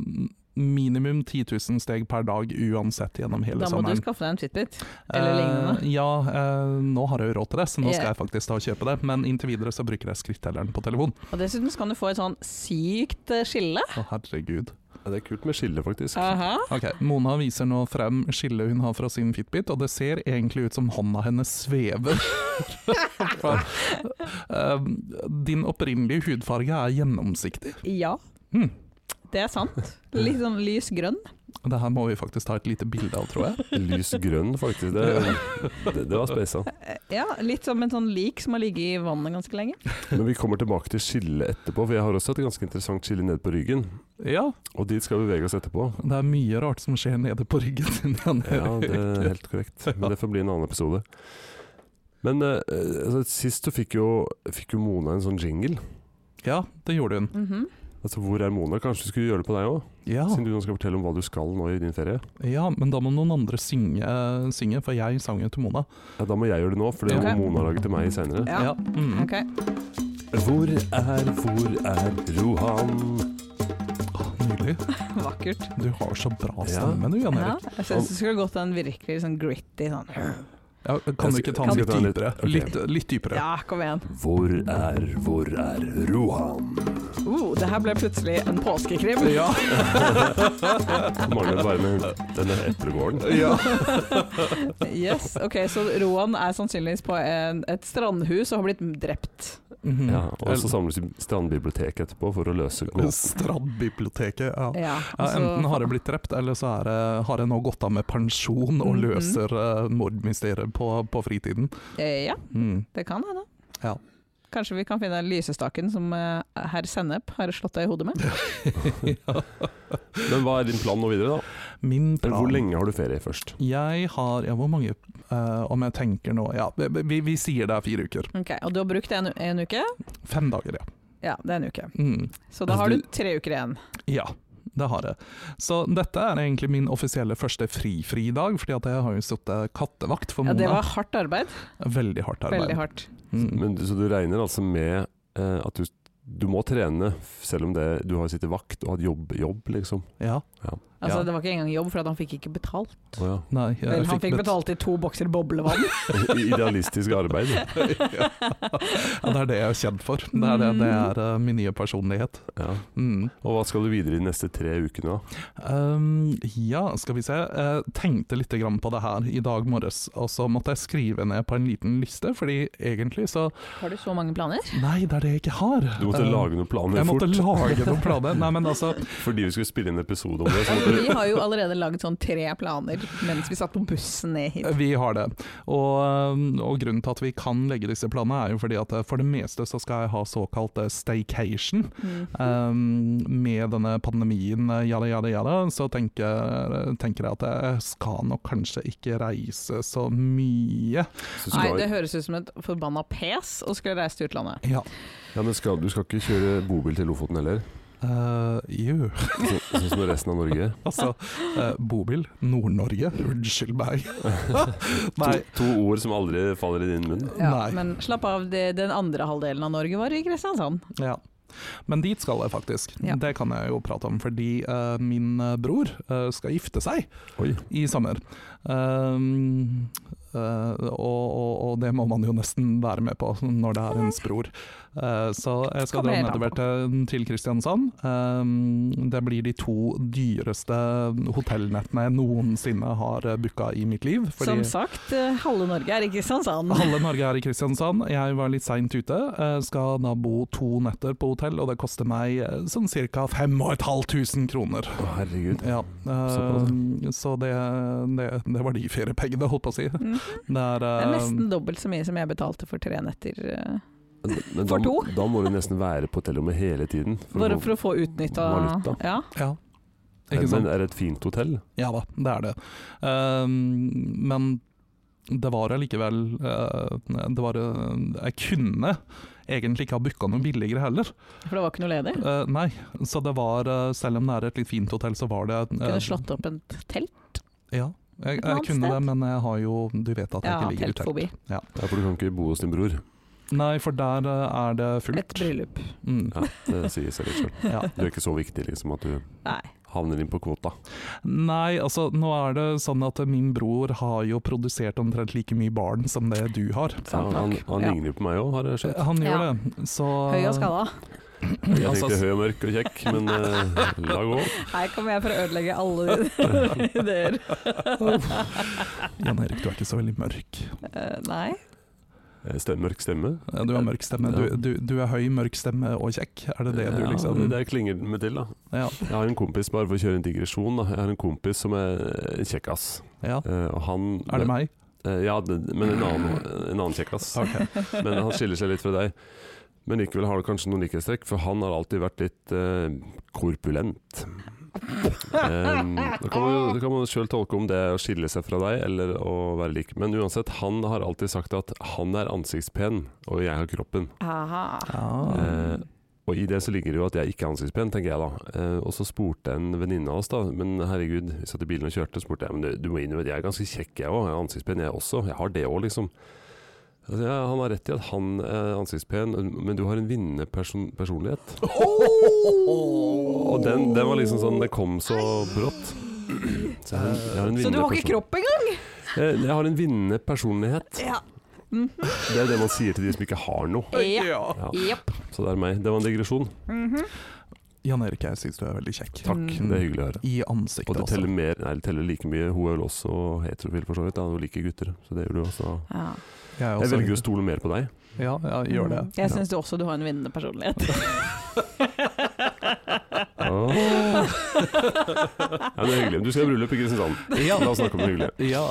Speaker 3: minimum 10 000 steg per dag uansett gjennom hele
Speaker 2: Da må du
Speaker 3: sommeren.
Speaker 2: skaffe deg en Fitbit. eller lignende.
Speaker 3: Eh, ja, eh, nå har jeg jo råd til det, så nå skal
Speaker 2: Ja.
Speaker 3: jeg faktisk ta og kjøpe det. Men inntil videre så bruker jeg skrittelleren på telefon.
Speaker 2: Og dessuten så kan du få et sånn sykt eh, skille.
Speaker 3: Å, herregud.
Speaker 1: Ja, det er kult med skille, faktisk.
Speaker 2: Aha.
Speaker 3: Ok, Mona viser nå frem skillet hun har fra sin Fitbit, og det ser egentlig ut som hånda hennes svever. For, eh, din opprinnelige hudfarge er gjennomsiktig.
Speaker 2: Ja,
Speaker 3: Hm,
Speaker 2: det er sant. Litt sånn lys grønn.
Speaker 3: det her må vi faktisk ta et lite bilde av, tror jeg.
Speaker 1: Lys grønn, faktisk. Det, det, det var speisa.
Speaker 2: Eh, Ja, litt som en sånn lik som har ligget i vannet ganske lenge.
Speaker 1: Men vi kommer tilbake til skille etterpå, for jeg har også et ganske interessant skille ned på ryggen.
Speaker 3: Ja,
Speaker 1: Og dit skal vi bevege oss etterpå.
Speaker 3: det er mye rart som skjer nede på ryggen din. Jan
Speaker 1: Ja,
Speaker 3: Erik.
Speaker 1: det er helt korrekt. Men det får bli en annen episode. Men eh, altså, sist så fikk jo, fikk jo Mona en sånn jingle.
Speaker 3: ja, det gjorde hun.
Speaker 2: Mhm.
Speaker 1: Altså, Hvor er Mona? Kanskje du skulle gjøre det på deg òg?
Speaker 3: Ja.
Speaker 1: Siden du nå skal fortelle om hva du skal nå i din ferie.
Speaker 3: Ja, men da må noen andre synge, eh, synge for jeg sang jo til Mona.
Speaker 1: Ja, Da må jeg gjøre det nå, for det må
Speaker 2: Ok.
Speaker 1: Mona lage til meg seinere.
Speaker 2: Ja.
Speaker 3: mm.
Speaker 2: Ok.
Speaker 1: Hvor er, hvor er Rohan?
Speaker 3: Nydelig.
Speaker 2: Vakkert.
Speaker 3: Du har så bra stemme, du, Jan
Speaker 2: Ja,
Speaker 3: Erik.
Speaker 2: jeg syns du skulle gått en virkelig sånn gritty sånn
Speaker 3: Ja, kan du ikke ta
Speaker 1: Skal
Speaker 3: den litt
Speaker 1: vi ta den litt-
Speaker 3: dypere?
Speaker 1: ok.
Speaker 3: Litt, litt dypere.
Speaker 2: Ja, kom igjen.
Speaker 1: Hvor er, hvor er Rohan?
Speaker 2: Uh, det her ble plutselig en påskekrim.
Speaker 3: Ja.
Speaker 1: Mangler bare med denne eplegården.
Speaker 3: ja.
Speaker 2: Yes, ok, Så Roan er sannsynligvis på en, et strandhus og har blitt drept.
Speaker 3: Mhm.
Speaker 1: Ja, og så samles Strandbiblioteket etterpå for å løse gåten.
Speaker 3: Strandbiblioteket, ja.
Speaker 2: Ja,
Speaker 3: Ja,
Speaker 2: altså-
Speaker 3: enten har jeg blitt drept, eller så er jeg, har jeg nå gått av med pensjon og
Speaker 2: Mhm.
Speaker 3: løser eh, mordmysteriet på, på fritiden.
Speaker 2: Eh, Ja,
Speaker 3: Mm.
Speaker 2: det kan hende.
Speaker 3: Ja.
Speaker 2: Kanskje vi kan finne lysestaken som eh, herr Sennep har slått deg i hodet med?
Speaker 1: Men hva er din plan nå videre, da?
Speaker 3: Min plan
Speaker 1: Hvor lenge har du ferie først?
Speaker 3: Jeg har Ja, hvor mange eh, Om jeg tenker nå Ja, vi, vi, vi sier det er fire uker.
Speaker 2: Ok, Og du har brukt en, en uke?
Speaker 3: Fem dager, ja.
Speaker 2: Ja, det er en uke.
Speaker 3: Mm.
Speaker 2: Så da
Speaker 3: Altså,
Speaker 2: har du
Speaker 3: du-
Speaker 2: tre uker igjen.
Speaker 3: Ja, det har jeg. Så dette er egentlig min offisielle første fri-fridag, fordi at jeg har jo sittet kattevakt for
Speaker 2: Ja,
Speaker 3: Mona.
Speaker 2: det var hardt arbeid.
Speaker 3: Veldig hardt arbeid.
Speaker 2: Veldig hardt.
Speaker 3: Mm.
Speaker 1: Men, du- så du regner altså med eh, at du, du må trene, selv om det, du har sittet vakt og hatt jobb, jobb liksom?
Speaker 3: Ja.
Speaker 2: Altså,
Speaker 3: Ja.
Speaker 2: Det var ikke engang jobb, for at han fikk ikke betalt.
Speaker 1: Å ja.
Speaker 3: Nei, jeg
Speaker 2: Vel, han fikk
Speaker 3: bet-
Speaker 2: betalt i to bokser boblevann.
Speaker 1: Idealistisk arbeid.
Speaker 3: ja, det er det jeg er kjent for. Det er, det, det er eh, min nye personlighet.
Speaker 1: Ja.
Speaker 3: Mm.
Speaker 1: Og hva skal du videre i de neste tre ukene, da?
Speaker 3: Um, ja, skal vi se. Jeg tenkte litt grann på det her i dag morges, og så måtte jeg skrive ned på en liten liste, fordi egentlig så
Speaker 2: Har du så mange planer?
Speaker 3: Nei, det er det jeg ikke har.
Speaker 1: Du måtte
Speaker 3: Eh,
Speaker 1: lage noen planer
Speaker 3: jeg måtte
Speaker 1: fort.
Speaker 3: lage noen planer. Nei, men altså
Speaker 1: Fordi vi skulle spille inn episode om det. Så måtte
Speaker 2: Vi har jo allerede laget sånn tre planer mens vi satt på bussen ned hit.
Speaker 3: Vi har det. Og, øhm, og grunnen til at vi kan legge disse planene, er jo fordi at eh, for det meste så skal jeg ha såkalt eh, staycation.
Speaker 2: Mm.
Speaker 3: Øhm, med denne pandemien, eh, jada, jada, jada, så tenker, eh, tenker jeg at jeg skal nok kanskje ikke reise så mye.
Speaker 1: Så
Speaker 2: Nei,
Speaker 1: skal,
Speaker 2: det høres ut som et forbanna pes å skulle reise til utlandet.
Speaker 3: Ja.
Speaker 1: ja, men skal, du skal ikke kjøre bobil til Lofoten heller,
Speaker 3: Eh, jo,
Speaker 1: så, sånn som resten av Norge.
Speaker 3: altså eh, Bobil, Nord-Norge, unnskyld meg.
Speaker 1: To,
Speaker 3: Nei.
Speaker 1: to ord som aldri faller i din munn.
Speaker 2: Ja,
Speaker 3: Nei.
Speaker 2: men slapp av, det, den andre halvdelen av Norge var i Kristiansand.
Speaker 3: Ja. Men dit skal jeg faktisk.
Speaker 2: Ja.
Speaker 3: Det kan jeg jo prate om, fordi eh, min eh, bror eh, skal gifte seg
Speaker 1: Oi.
Speaker 3: i sommer. Ehm, eh, og, og, og det må man jo nesten være med på når det er ens bror. Eh, så jeg skal
Speaker 2: Kommer
Speaker 3: dra
Speaker 2: helt an
Speaker 3: nedover
Speaker 2: på.
Speaker 3: til, til Kristiansand. Ehm, det blir de to dyreste hotellnettene jeg noensinne har eh, booka i mitt liv. fordi-
Speaker 2: Som sagt, eh, halve Norge er i Kristiansand.
Speaker 3: Halve Norge er i Kristiansand. Jeg var litt seint ute. Eh, Skal da bo to netter på hotell, og det koster meg eh, sånn ca. 5500 kroner.
Speaker 1: Å, herregud.
Speaker 3: Ja, eh, så det, det, det var de feriepengene, holdt på å si. Det
Speaker 2: Mhm.
Speaker 3: er,
Speaker 2: Det
Speaker 3: eh,
Speaker 2: er nesten dobbelt så mye som jeg betalte for tre netter. eh,
Speaker 1: Men
Speaker 2: For
Speaker 1: da,
Speaker 2: to.
Speaker 1: da må du nesten være på hotellrommet hele tiden.
Speaker 2: Bare
Speaker 1: å-
Speaker 2: for å få utnytta
Speaker 1: Valuta.
Speaker 2: Ja.
Speaker 3: ja,
Speaker 1: men eh,
Speaker 3: ikke sant?
Speaker 1: er det et fint hotell?
Speaker 3: Ja da, det er det. Eh, men det var allikevel eh, Det var eh, Jeg kunne egentlig ikke ha booka noe billigere heller.
Speaker 2: For det var ikke noe ledig.
Speaker 3: Eh, nei, så det var eh, Selv om det er et litt fint hotell, så var det eh,
Speaker 2: Kunne slått opp et telt.
Speaker 3: Ja, jeg,
Speaker 2: Et
Speaker 3: jeg
Speaker 2: annet
Speaker 3: kunne
Speaker 2: sted?
Speaker 3: det, men jeg har jo Du vet at jeg
Speaker 2: Ja,
Speaker 3: ikke ligger i telt.
Speaker 2: teltfobi.
Speaker 1: Ja, for du kan ikke bo hos din bror.
Speaker 3: Nei, for der eh, er det
Speaker 2: Et
Speaker 3: fullt.
Speaker 2: bryllup.
Speaker 3: Mm,
Speaker 1: Ja, det sier seg litt selv.
Speaker 3: ja.
Speaker 1: Du er ikke så viktig liksom at du
Speaker 2: Nei.
Speaker 1: havner inn på kvota.
Speaker 3: Nei, altså nå er det sånn at min bror har jo produsert omtrent like mye barn som det du har. Eh,
Speaker 1: Ja,
Speaker 2: Sant
Speaker 1: han
Speaker 2: nok.
Speaker 1: han
Speaker 2: Ja.
Speaker 1: ligner jo på meg òg, har jeg skjønt.
Speaker 3: Han gjør
Speaker 2: Ja.
Speaker 3: det, så
Speaker 2: Høy og skada.
Speaker 1: Jeg
Speaker 3: Altså,
Speaker 1: tenkte høy og mørk og kjekk, men eh, la gå.
Speaker 2: Her kommer jeg for å ødelegge alle dine ideer.
Speaker 3: Jan Erik, du er ikke så veldig mørk.
Speaker 2: Eh, nei.
Speaker 1: Eh, Stem, mørk stemme.
Speaker 3: Du har mørk stemme. Du, du, du er høy, mørk stemme og kjekk. Er det det du
Speaker 1: Ja,
Speaker 3: liksom
Speaker 1: det, det klinger med til, da.
Speaker 3: Ja.
Speaker 1: Jeg har en kompis, bare for å kjøre en digresjon, da. Jeg har en kompis som er en kjekkas.
Speaker 3: ja.
Speaker 1: Eh, og han
Speaker 3: Er det meg?
Speaker 1: Eh, ja, det, men en annen, en annen kjekkas.
Speaker 3: Ok.
Speaker 1: Men han skiller seg litt fra deg. Men likevel har det kanskje noen likhetstrekk, for han har alltid vært litt eh, korpulent. Em, da kan man, jo- da kan man sjøl tolke om det er å skille seg fra deg eller å være lik. Men uansett, han har alltid sagt at han er ansiktspen, og jeg har kroppen.
Speaker 2: Aha.
Speaker 3: Ja.
Speaker 1: Eh, og i det så ligger det jo at jeg ikke er ansiktspen, tenker jeg da. Eh, og så spurte en venninne av oss, da. Men herregud, vi satt i bilen og kjørte, spurte jeg. Men du, du må innrømme at jeg er ganske kjekk, jeg òg. Jeg er ansiktspen, jeg også. Jeg har det òg, liksom. Altså, ja, han har rett i at han er ansiktspen, men du har en vinnende person personlighet.
Speaker 3: Oh!
Speaker 1: Og den, den var liksom sånn Det kom så brått. Så, jeg har en, jeg har en
Speaker 2: Så du
Speaker 1: vinnende
Speaker 2: har ikke
Speaker 1: person-
Speaker 2: kropp engang?
Speaker 1: Jeg, jeg har en vinnende personlighet.
Speaker 2: Ja.
Speaker 1: Det er det man sier til de som ikke har noe.
Speaker 2: Ja.
Speaker 3: Ja.
Speaker 1: Ja,
Speaker 2: Jepp.
Speaker 1: så det er meg. Det var en digresjon.
Speaker 2: Mhm.
Speaker 3: Jan Erik, jeg syns du er veldig kjekk.
Speaker 1: Takk,
Speaker 2: Mm.
Speaker 1: det er hyggelig å høre.
Speaker 3: I
Speaker 1: Og
Speaker 3: ansiktet
Speaker 1: det
Speaker 3: også.
Speaker 1: teller, mer, nei, det teller like mye. Hun er vel også heterofil, for så vidt. da. Hun liker gutter, så det gjør du også.
Speaker 2: Ja.
Speaker 3: Jeg, er
Speaker 1: Jeg
Speaker 3: også-
Speaker 1: velger å stole mer på deg.
Speaker 3: Ja, ja, gjør det.
Speaker 2: Mm, Jeg syns du også du har en vinnende personlighet.
Speaker 1: Åh. Ja, det er hyggelig. Du skal i bryllup i Kristiansand.
Speaker 3: Ja.
Speaker 1: La oss snakke om det hyggelige.
Speaker 3: Ja.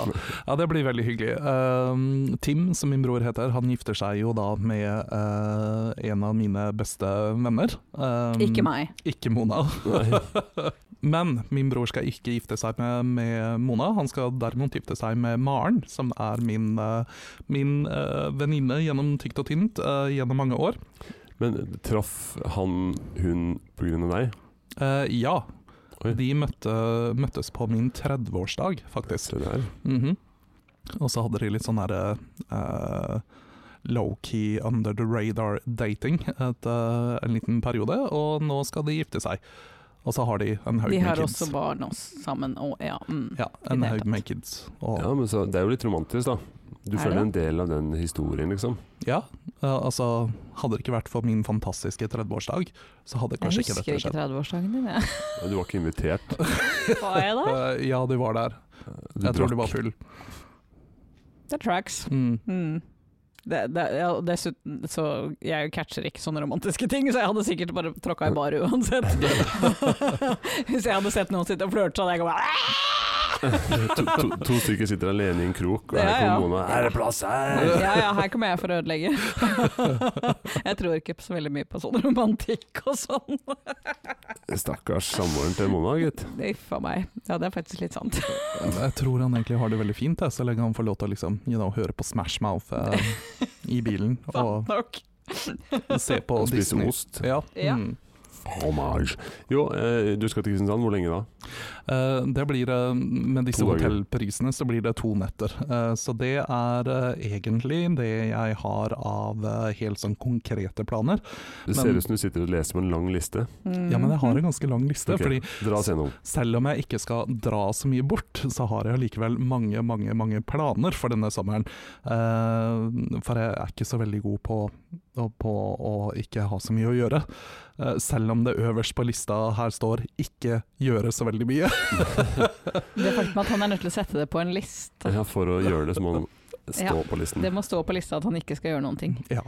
Speaker 3: ja, det blir veldig hyggelig. Ehm, Tim, som min bror heter, han gifter seg jo da med eh, en av mine beste venner. Ehm,
Speaker 2: Ikke meg.
Speaker 3: Ikke Mona.
Speaker 1: Nei.
Speaker 3: Men min bror skal ikke gifte seg med, med Mona, han skal derimot gifte seg med Maren, som er min, eh, min eh, venninne gjennom tykt og tynt eh, gjennom mange år.
Speaker 1: Men traff han hun på grunn av deg?
Speaker 3: Eh, ja,
Speaker 1: Oi.
Speaker 3: de møtte, møttes på min 30-årsdag, faktisk.
Speaker 1: Se der.
Speaker 3: Mhm. Og så hadde de litt sånn herre low-key, under the radar-dating et, eh, en liten periode, og nå skal de gifte seg. Og så har de en haug
Speaker 2: De
Speaker 3: med
Speaker 2: har
Speaker 3: kids.
Speaker 2: også barn også, sammen. Og, ja, mm.
Speaker 3: ja,
Speaker 2: i
Speaker 3: en
Speaker 2: det hele
Speaker 3: haug
Speaker 2: tatt.
Speaker 3: med kids. Og,
Speaker 1: Ja, men så, det er jo litt romantisk, da. Du
Speaker 2: Er
Speaker 1: føler
Speaker 2: det?
Speaker 1: en del av den historien, liksom.
Speaker 3: Ja, eh, altså Hadde det ikke vært for min fantastiske 30-årsdag, så hadde
Speaker 2: Jeg
Speaker 3: kanskje ikke
Speaker 2: husker
Speaker 3: dette
Speaker 2: ikke
Speaker 3: skjedd.
Speaker 2: 30-årsdagen din, jeg.
Speaker 1: Du var ikke invitert.
Speaker 2: Var jeg der?
Speaker 3: Eh, ja, de var der.
Speaker 1: Du
Speaker 3: Jeg tror
Speaker 1: drakk.
Speaker 3: de var full.
Speaker 2: Det er tracks.
Speaker 3: Mm.
Speaker 2: Mm. Det, det, ja, og dessuten så Jeg catcher ikke sånne romantiske ting, så jeg hadde sikkert bare tråkka i bare uansett. Hvis jeg hadde sett noen sitte og flørte, så hadde jeg gått
Speaker 1: To, to, to stykker sitter alene i en krok, og her
Speaker 2: Ja, ja.
Speaker 1: kommer Mona. Er det plass her?
Speaker 2: Ja ja, her kommer jeg for å ødelegge. Jeg tror ikke så veldig mye på sånn romantikk og sånn.
Speaker 1: Stakkars samboeren til Mona, gitt.
Speaker 2: Uff a meg. Ja, det er faktisk litt sant.
Speaker 3: Jeg tror han egentlig har det veldig fint, jeg, så lenge han får lov til å liksom, you know, høre på Smash Mouth eh, i bilen og
Speaker 2: Sant nok.
Speaker 3: se på
Speaker 1: Og spise
Speaker 3: Disney.
Speaker 1: ost.
Speaker 3: Ja.
Speaker 2: Ja.
Speaker 3: Mm.
Speaker 1: Homage. Jo, eh, du skal til Kristiansand. Hvor lenge da?
Speaker 3: Eh, det blir, eh, med disse
Speaker 1: To dager.
Speaker 3: hotellprisene så blir det to netter. Eh, så det er eh, egentlig det jeg har av eh, helt sånn konkrete planer.
Speaker 1: Det
Speaker 3: Men-
Speaker 1: ser ut som du sitter og leser på en lang liste.
Speaker 3: Ja, men jeg har en ganske lang liste.
Speaker 1: Ok.
Speaker 3: fordi
Speaker 1: Dra oss gjennom.
Speaker 3: Selv om jeg ikke skal dra så mye bort, så har jeg likevel mange, mange mange planer for denne sommeren. Eh, for jeg er ikke så veldig god på, å- på å ikke ha så mye å gjøre. Eh, selv om det øverst på lista her står 'ikke gjøre så veldig mye'.
Speaker 2: Mm. Det faktum at han er nødt til å sette det på en liste.
Speaker 1: Ja, for å gjøre det som man står på listen.
Speaker 2: Det må stå på lista at han ikke skal gjøre noen ting.
Speaker 3: Ja.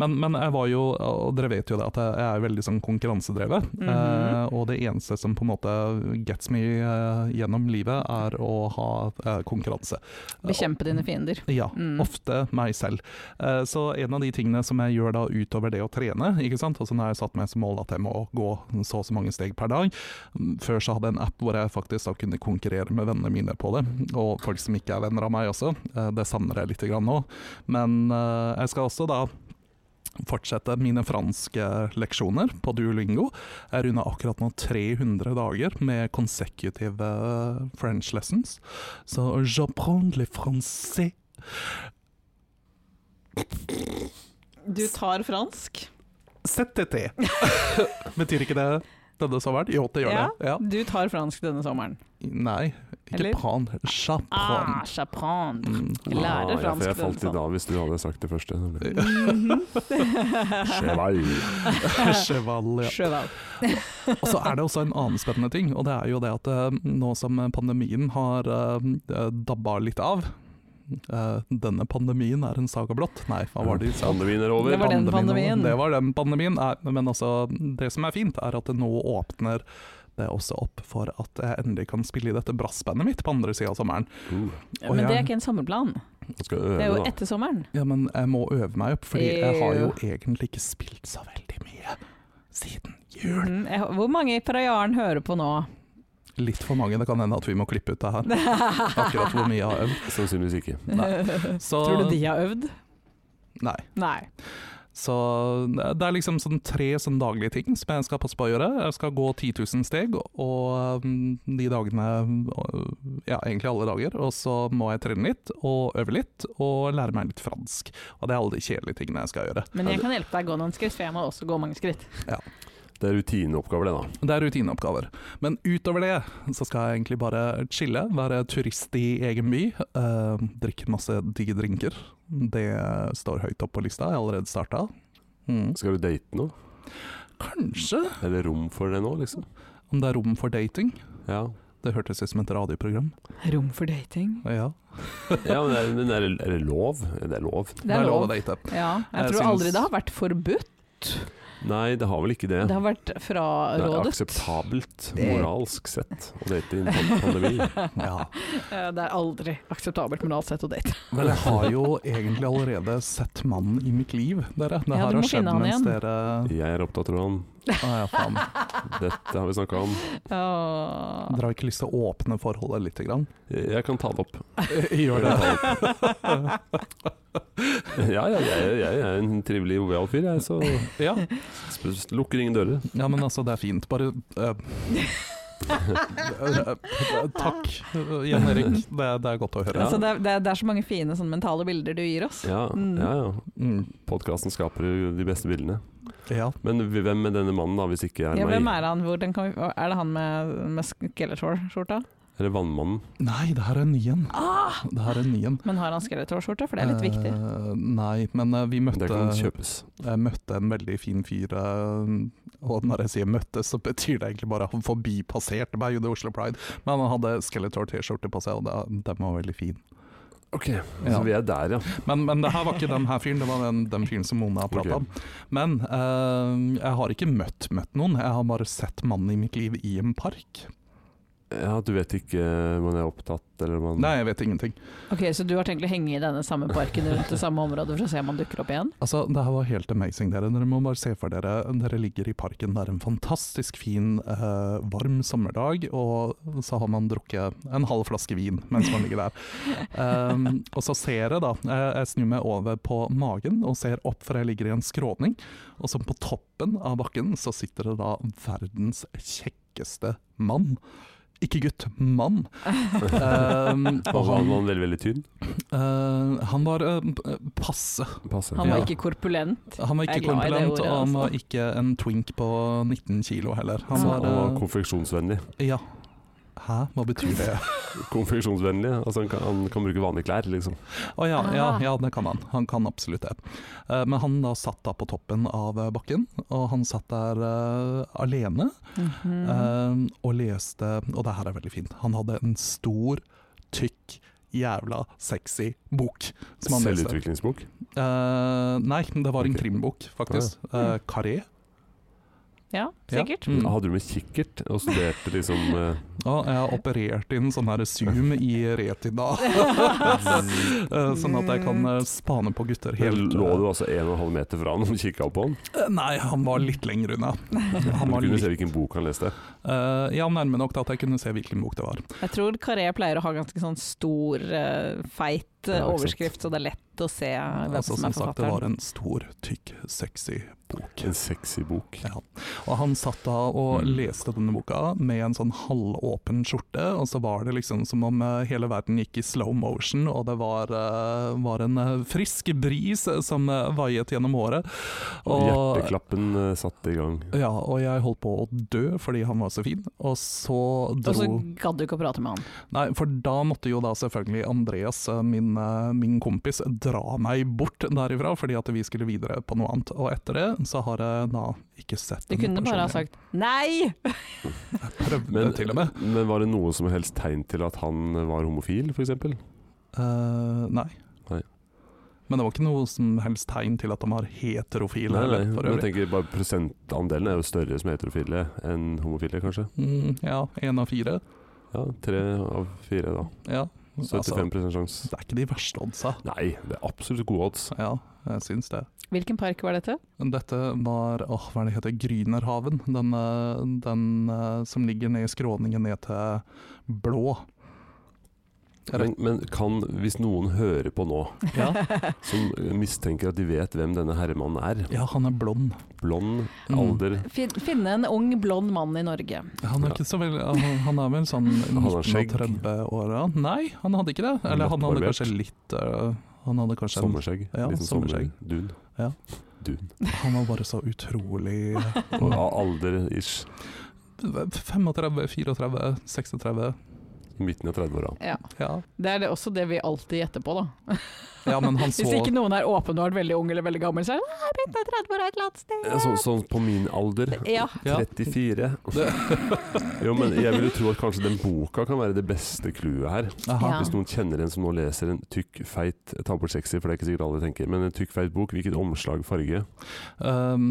Speaker 3: Men, men jeg var jo, og dere vet jo det, at jeg jeg er veldig sånn konkurransedrevet.
Speaker 2: Mhm.
Speaker 3: eh, og det eneste som på en måte gets me eh, gjennom livet, er å ha eh, konkurranse.
Speaker 2: Bekjempe dine fiender.
Speaker 3: Ja,
Speaker 2: Mm.
Speaker 3: ofte meg selv. Eh, Så en av de tingene som jeg gjør da utover det å trene, ikke sant? Altså når jeg satt meg som mål at jeg må gå så og så mange steg per dag, Mm, før så hadde jeg en app hvor jeg faktisk da kunne konkurrere med vennene mine på det, og folk som ikke er venner av meg også. Eh, Det savner jeg litt grann nå. Men eh, jeg skal også da fortsette mine franske leksjoner på Duolingo. Jeg runder akkurat nå 300 dager med consecutive eh, French lessons. Så j'apprends le français
Speaker 2: Du tar fransk.
Speaker 3: ZTT. Betyr ikke det denne sommeren? Jo, det gjør
Speaker 2: Ja.
Speaker 3: det. Ja.
Speaker 2: Du tar fransk denne sommeren.
Speaker 3: Nei, ikke
Speaker 2: Eller?
Speaker 3: pran, sjapran.
Speaker 2: Ah, chapran.
Speaker 3: Mm.
Speaker 2: Jeg lærer
Speaker 1: Ah, ja, for
Speaker 2: fransk
Speaker 1: jeg falt i
Speaker 2: denne
Speaker 1: dag hvis du hadde sagt det første.
Speaker 2: Mhm. sommeren.
Speaker 1: Cheval.
Speaker 3: Cheval, ja.
Speaker 2: Sjøval.
Speaker 3: Og så er det også en annen spennende ting, og det er jo det at eh, nå som pandemien har eh, dabba litt av eh, Denne pandemien er en saga blått. Nei, hva var det de sa?
Speaker 1: Pandemien er over.
Speaker 2: Det var den pandemien.
Speaker 3: Det var den pandemien. Nei, men altså, det som er fint, er at det nå åpner det også opp for at jeg endelig kan spille i dette brassbandet mitt på andre sida av sommeren.
Speaker 1: Uh,
Speaker 3: Og
Speaker 2: Men det
Speaker 3: jeg-
Speaker 2: er ikke en sommerplan.
Speaker 1: jeg skal
Speaker 2: Det er
Speaker 1: øve,
Speaker 2: jo
Speaker 1: da.
Speaker 2: etter sommeren.
Speaker 3: Ja, men jeg må øve meg opp, fordi jeg har jo
Speaker 2: Jo.
Speaker 3: egentlig ikke spilt så veldig mye siden jul.
Speaker 2: Mm, jeg- Hvor mange fra Jaren hører på nå?
Speaker 3: Litt for mange, det kan hende at vi må klippe ut det her. Akkurat hvor mye jeg har øvd.
Speaker 1: Sannsynligvis ikke.
Speaker 3: Så,
Speaker 2: Tror du de har øvd?
Speaker 3: Nei.
Speaker 2: Nei.
Speaker 3: Så det er liksom sånn tre sånn daglige ting som jeg skal passe på å gjøre. Jeg skal gå 10 000 steg, og um, de dagene og, Ja, egentlig alle dager. Og så må jeg trene litt, og øve litt, og lære meg litt fransk. Og det er alle de kjedelige tingene jeg skal gjøre.
Speaker 2: Men jeg kan hjelpe deg å gå noen skritt, for jeg må også gå mange skritt.
Speaker 1: Det er rutineoppgaver, det, da.
Speaker 3: Det er rutineoppgaver. Men utover det så skal jeg egentlig bare chille, være turist i egen by. eh, drikke masse digge drinker. Det står høyt opp på lista, jeg har allerede starta. Mm.
Speaker 1: Skal du date nå?
Speaker 3: Kanskje,
Speaker 1: Er det rom for det nå, liksom?
Speaker 3: om det er rom for dating.
Speaker 1: Ja,
Speaker 3: Det hørtes ut som et radioprogram.
Speaker 2: Rom for dating.
Speaker 3: Ja,
Speaker 1: ja men, er, men er, det, er det lov? Er det lov?
Speaker 2: Det er lov.
Speaker 3: å date.
Speaker 2: Ja, jeg
Speaker 3: Jeg
Speaker 2: tror
Speaker 3: syns-
Speaker 2: aldri det har vært forbudt.
Speaker 1: Nei, det har vel ikke det.
Speaker 2: Det har vært
Speaker 1: Det er
Speaker 2: frarådet.
Speaker 1: akseptabelt,
Speaker 2: Det-
Speaker 1: moralsk sett, å date i en pan- pandemi.
Speaker 3: Ja.
Speaker 2: Eh, Det er aldri akseptabelt moralt sett å date.
Speaker 3: Vel, jeg har jo egentlig allerede sett mannen i mitt liv, dere. Det
Speaker 2: Ja,
Speaker 3: her
Speaker 2: du må
Speaker 3: har skjedd
Speaker 2: finne han
Speaker 3: mens
Speaker 2: igjen.
Speaker 3: dere
Speaker 1: Jeg er opptatt av han.
Speaker 3: Å ja, faen.
Speaker 1: Dette har vi snakka om.
Speaker 2: Åh.
Speaker 3: Dere har ikke lyst til å åpne forholdet lite grann?
Speaker 1: Jeg kan ta det opp.
Speaker 3: Gjør det.
Speaker 1: Ja, ja, jeg, jeg er en trivelig, jovial fyr, jeg, så
Speaker 3: Ja.
Speaker 1: sp- s- lukker ingen dører.
Speaker 3: Ja, men altså, det er fint. Bare eh, eh, eh, Takk, Jan Erik. Det, er- det er godt å høre.
Speaker 2: Altså, det, er, det, er, det er så mange fine sånne mentale bilder du gir oss.
Speaker 1: Ja,
Speaker 2: Mm.
Speaker 1: ja. ja.
Speaker 3: Mm,
Speaker 1: Podkasten skaper jo de beste bildene.
Speaker 3: ja.
Speaker 1: Men hv- hvem er denne mannen, da, hvis ikke er
Speaker 2: Ja, hvem
Speaker 1: meg?
Speaker 2: er han? Hvor den kan vi, er det han med, med skeletor-skjorta?
Speaker 1: Er det Vannmannen?
Speaker 3: Nei, det her er en ny en. Det her er en ny en.
Speaker 2: Men har han skeletor-skjorte? Ah! For det er litt viktig.
Speaker 3: Eh, nei, men eh, vi møtte
Speaker 1: Det kan kjøpes.
Speaker 3: Jeg møtte en veldig fin fyr, eh, og når jeg sier møtte, så betyr det egentlig bare at han forbipasserte meg under Oslo Pride. Men han hadde Skeletor T-skjorte på seg, og det, den var veldig fin.
Speaker 1: Ok,
Speaker 3: Ja.
Speaker 1: så vi er der, ja.
Speaker 3: Men, men det her var ikke den her fyren, det var den, den fyren som Mona har prata
Speaker 1: Ok.
Speaker 3: om. Men eh, jeg har ikke møtt, møtt noen, jeg har bare sett mannen i mitt liv i en park.
Speaker 1: ja. Du vet ikke om han er opptatt, eller om han
Speaker 3: Nei, jeg vet ingenting.
Speaker 2: Ok, Så du har tenkt å henge i denne samme parken rundt det samme området for å se om han dukker opp igjen?
Speaker 3: Altså, Det her var helt amazing, dere. Dere må bare se for dere. Dere ligger i parken, det er en fantastisk fin, eh, varm sommerdag, og så har man drukket en halv flaske vin mens man ligger der. Um, og så ser jeg, da. Jeg, jeg snur meg over på magen og ser opp, for jeg ligger i en skråning. Og så på toppen av bakken så sitter det da verdens kjekkeste mann. Ikke gutt, mann. Um,
Speaker 1: Og
Speaker 3: og
Speaker 1: var
Speaker 3: han,
Speaker 1: han veldig, veldig tynn?
Speaker 3: eh, han var eh, passe.
Speaker 1: Passer.
Speaker 2: Han var
Speaker 3: Ja.
Speaker 2: ikke korpulent.
Speaker 3: Han var
Speaker 2: Jeg er
Speaker 3: ikke
Speaker 2: glad i det
Speaker 3: korpulent,
Speaker 2: ordet,
Speaker 3: og han var
Speaker 2: altså.
Speaker 3: ikke en twink på 19 kilo heller. Han
Speaker 1: Han
Speaker 2: Så
Speaker 3: var,
Speaker 1: var
Speaker 3: eh,
Speaker 1: konfeksjonsvennlig.
Speaker 3: ja. Hæ, hva betyr det?
Speaker 1: Konfeksjonsvennlig, altså han kan, han kan bruke vanlige klær, liksom.
Speaker 3: Å ja, ja,
Speaker 2: Ah.
Speaker 3: ja, det kan han. Han kan absolutt det. Eh, Men han da satt da på toppen av eh, bakken, og han satt der eh, alene
Speaker 2: Mhm.
Speaker 3: eh, og leste Og det her er veldig fint. Han hadde en stor, tykk, jævla sexy bok som han leste.
Speaker 1: Selvutviklingsbok.
Speaker 3: Eh, nei, det var en
Speaker 1: Ok.
Speaker 3: krimbok, faktisk. Eh, Carré.
Speaker 2: Ja,
Speaker 3: Ja.
Speaker 2: sikkert.
Speaker 3: Mm.
Speaker 1: Hadde du med kikkert og studerte liksom eh,
Speaker 3: Ja, jeg har operert inn sånn her zoom i retina, Eh, sånn at jeg kan eh, spane på gutter helt
Speaker 1: Lå du altså 1,5 meter fra han og kikka opp på han?
Speaker 3: Eh, Nei, han var litt lenger unna. Han
Speaker 1: Du
Speaker 3: var
Speaker 1: kunne
Speaker 3: litt,
Speaker 1: se hvilken bok han leste.
Speaker 3: Eh, ja, nærme nok til at jeg kunne se hvilken bok det var.
Speaker 2: Jeg tror Carré pleier å ha ganske sånn stor, eh, feit eh,
Speaker 1: Ja, ikke sant.
Speaker 2: overskrift, så det er lett å se hvem
Speaker 3: Altså,
Speaker 2: som
Speaker 3: som
Speaker 2: er
Speaker 3: sagt, det var
Speaker 2: forfatteren.
Speaker 3: en stor, tykk, sexy bok.
Speaker 1: En sexy bok.
Speaker 3: Ja. Og han satt da og
Speaker 1: Mm.
Speaker 3: leste denne boka med en sånn halvåpen skjorte, og så var det liksom som om eh, hele verden gikk i slow motion, og det var, eh, var en eh, frisk bris eh, som eh, vaiet gjennom håret.
Speaker 1: Og hjerteklappen eh, satte i gang.
Speaker 3: Ja, og jeg holdt på å dø fordi han var så fin, og så
Speaker 2: Og så
Speaker 3: dro
Speaker 2: gadd du ikke å prate med han.
Speaker 3: Nei, for da måtte jo da selvfølgelig Andreas, eh, min, eh, min kompis, dra meg bort derifra, fordi at vi skulle videre på noe annet. Og etter det så har jeg da ikke sett
Speaker 2: Du kunne bare ha sagt 'nei'!
Speaker 3: Prøvde
Speaker 1: Men,
Speaker 3: til og med.
Speaker 1: men var det noe som helst tegn til at han var homofil, f.eks.?
Speaker 3: Eh, nei.
Speaker 1: Nei.
Speaker 3: Men det var ikke noe som helst tegn til at de var heterofile.
Speaker 1: Nei, nei.
Speaker 3: eller, for
Speaker 1: Men jeg
Speaker 3: øvrig.
Speaker 1: tenker bare prosentandelen er jo større som heterofile enn homofile, kanskje.
Speaker 3: Mm, ja, én av fire.
Speaker 1: Ja, tre av fire, da.
Speaker 3: Ja. altså,
Speaker 1: 75 sjanse.
Speaker 3: det er ikke de verste oddsa.
Speaker 1: Nei, det er absolutt gode odds.
Speaker 3: Ja, jeg syns det.
Speaker 2: Hvilken park var dette?
Speaker 3: Dette var åh, hva er det heter, Grünerhaven. Den, eh, den eh, som ligger ned i skråningen ned til Blå.
Speaker 1: Men, men kan, hvis noen hører på nå,
Speaker 3: Ja.
Speaker 1: som mistenker at de vet hvem denne herremannen er
Speaker 3: ja, han er blond.
Speaker 1: Blond,
Speaker 3: Mm.
Speaker 1: alder
Speaker 2: Fin, finne en ung, blond mann i Norge.
Speaker 3: Han er,
Speaker 1: Ja.
Speaker 3: ikke så vel, han, han er vel sånn
Speaker 1: Han har skjegg.
Speaker 3: 1930-åra. Nei, han hadde ikke det. Eller han hadde
Speaker 1: Glattbarbert.
Speaker 3: kanskje litt øh, Han hadde kanskje en,
Speaker 1: Sommerskjegg.
Speaker 3: Ja,
Speaker 1: liksom
Speaker 3: sommerskjegg.
Speaker 1: sommerdun.
Speaker 3: Ja.
Speaker 1: Dun.
Speaker 3: Han var bare så utrolig
Speaker 1: Og
Speaker 3: Mm.
Speaker 1: av alder ish.
Speaker 3: 35, 34, 36.
Speaker 1: I midten av 30-åra.
Speaker 2: Ja.
Speaker 3: Ja.
Speaker 2: Det er det også det vi alltid gjetter på, da.
Speaker 3: ja, men han
Speaker 2: Hvis
Speaker 3: så
Speaker 2: ikke noen er åpenbart veldig ung eller veldig gammel, så er det «Ah, jeg begynte 30 år et eller annet sted.
Speaker 1: Ja, Sånn sånn på min alder.
Speaker 2: Ja.
Speaker 3: Ja.
Speaker 1: 34. Jo, men jeg vil jo tro at kanskje den boka kan være det beste clouet her.
Speaker 3: Aha.
Speaker 2: Ja.
Speaker 1: Hvis noen kjenner en som nå leser en tykk, feit Jeg tar bort sexy, for det er ikke sikkert alle tenker. Men en tykk, feit bok. Hvilket omslag, farge?
Speaker 3: Um,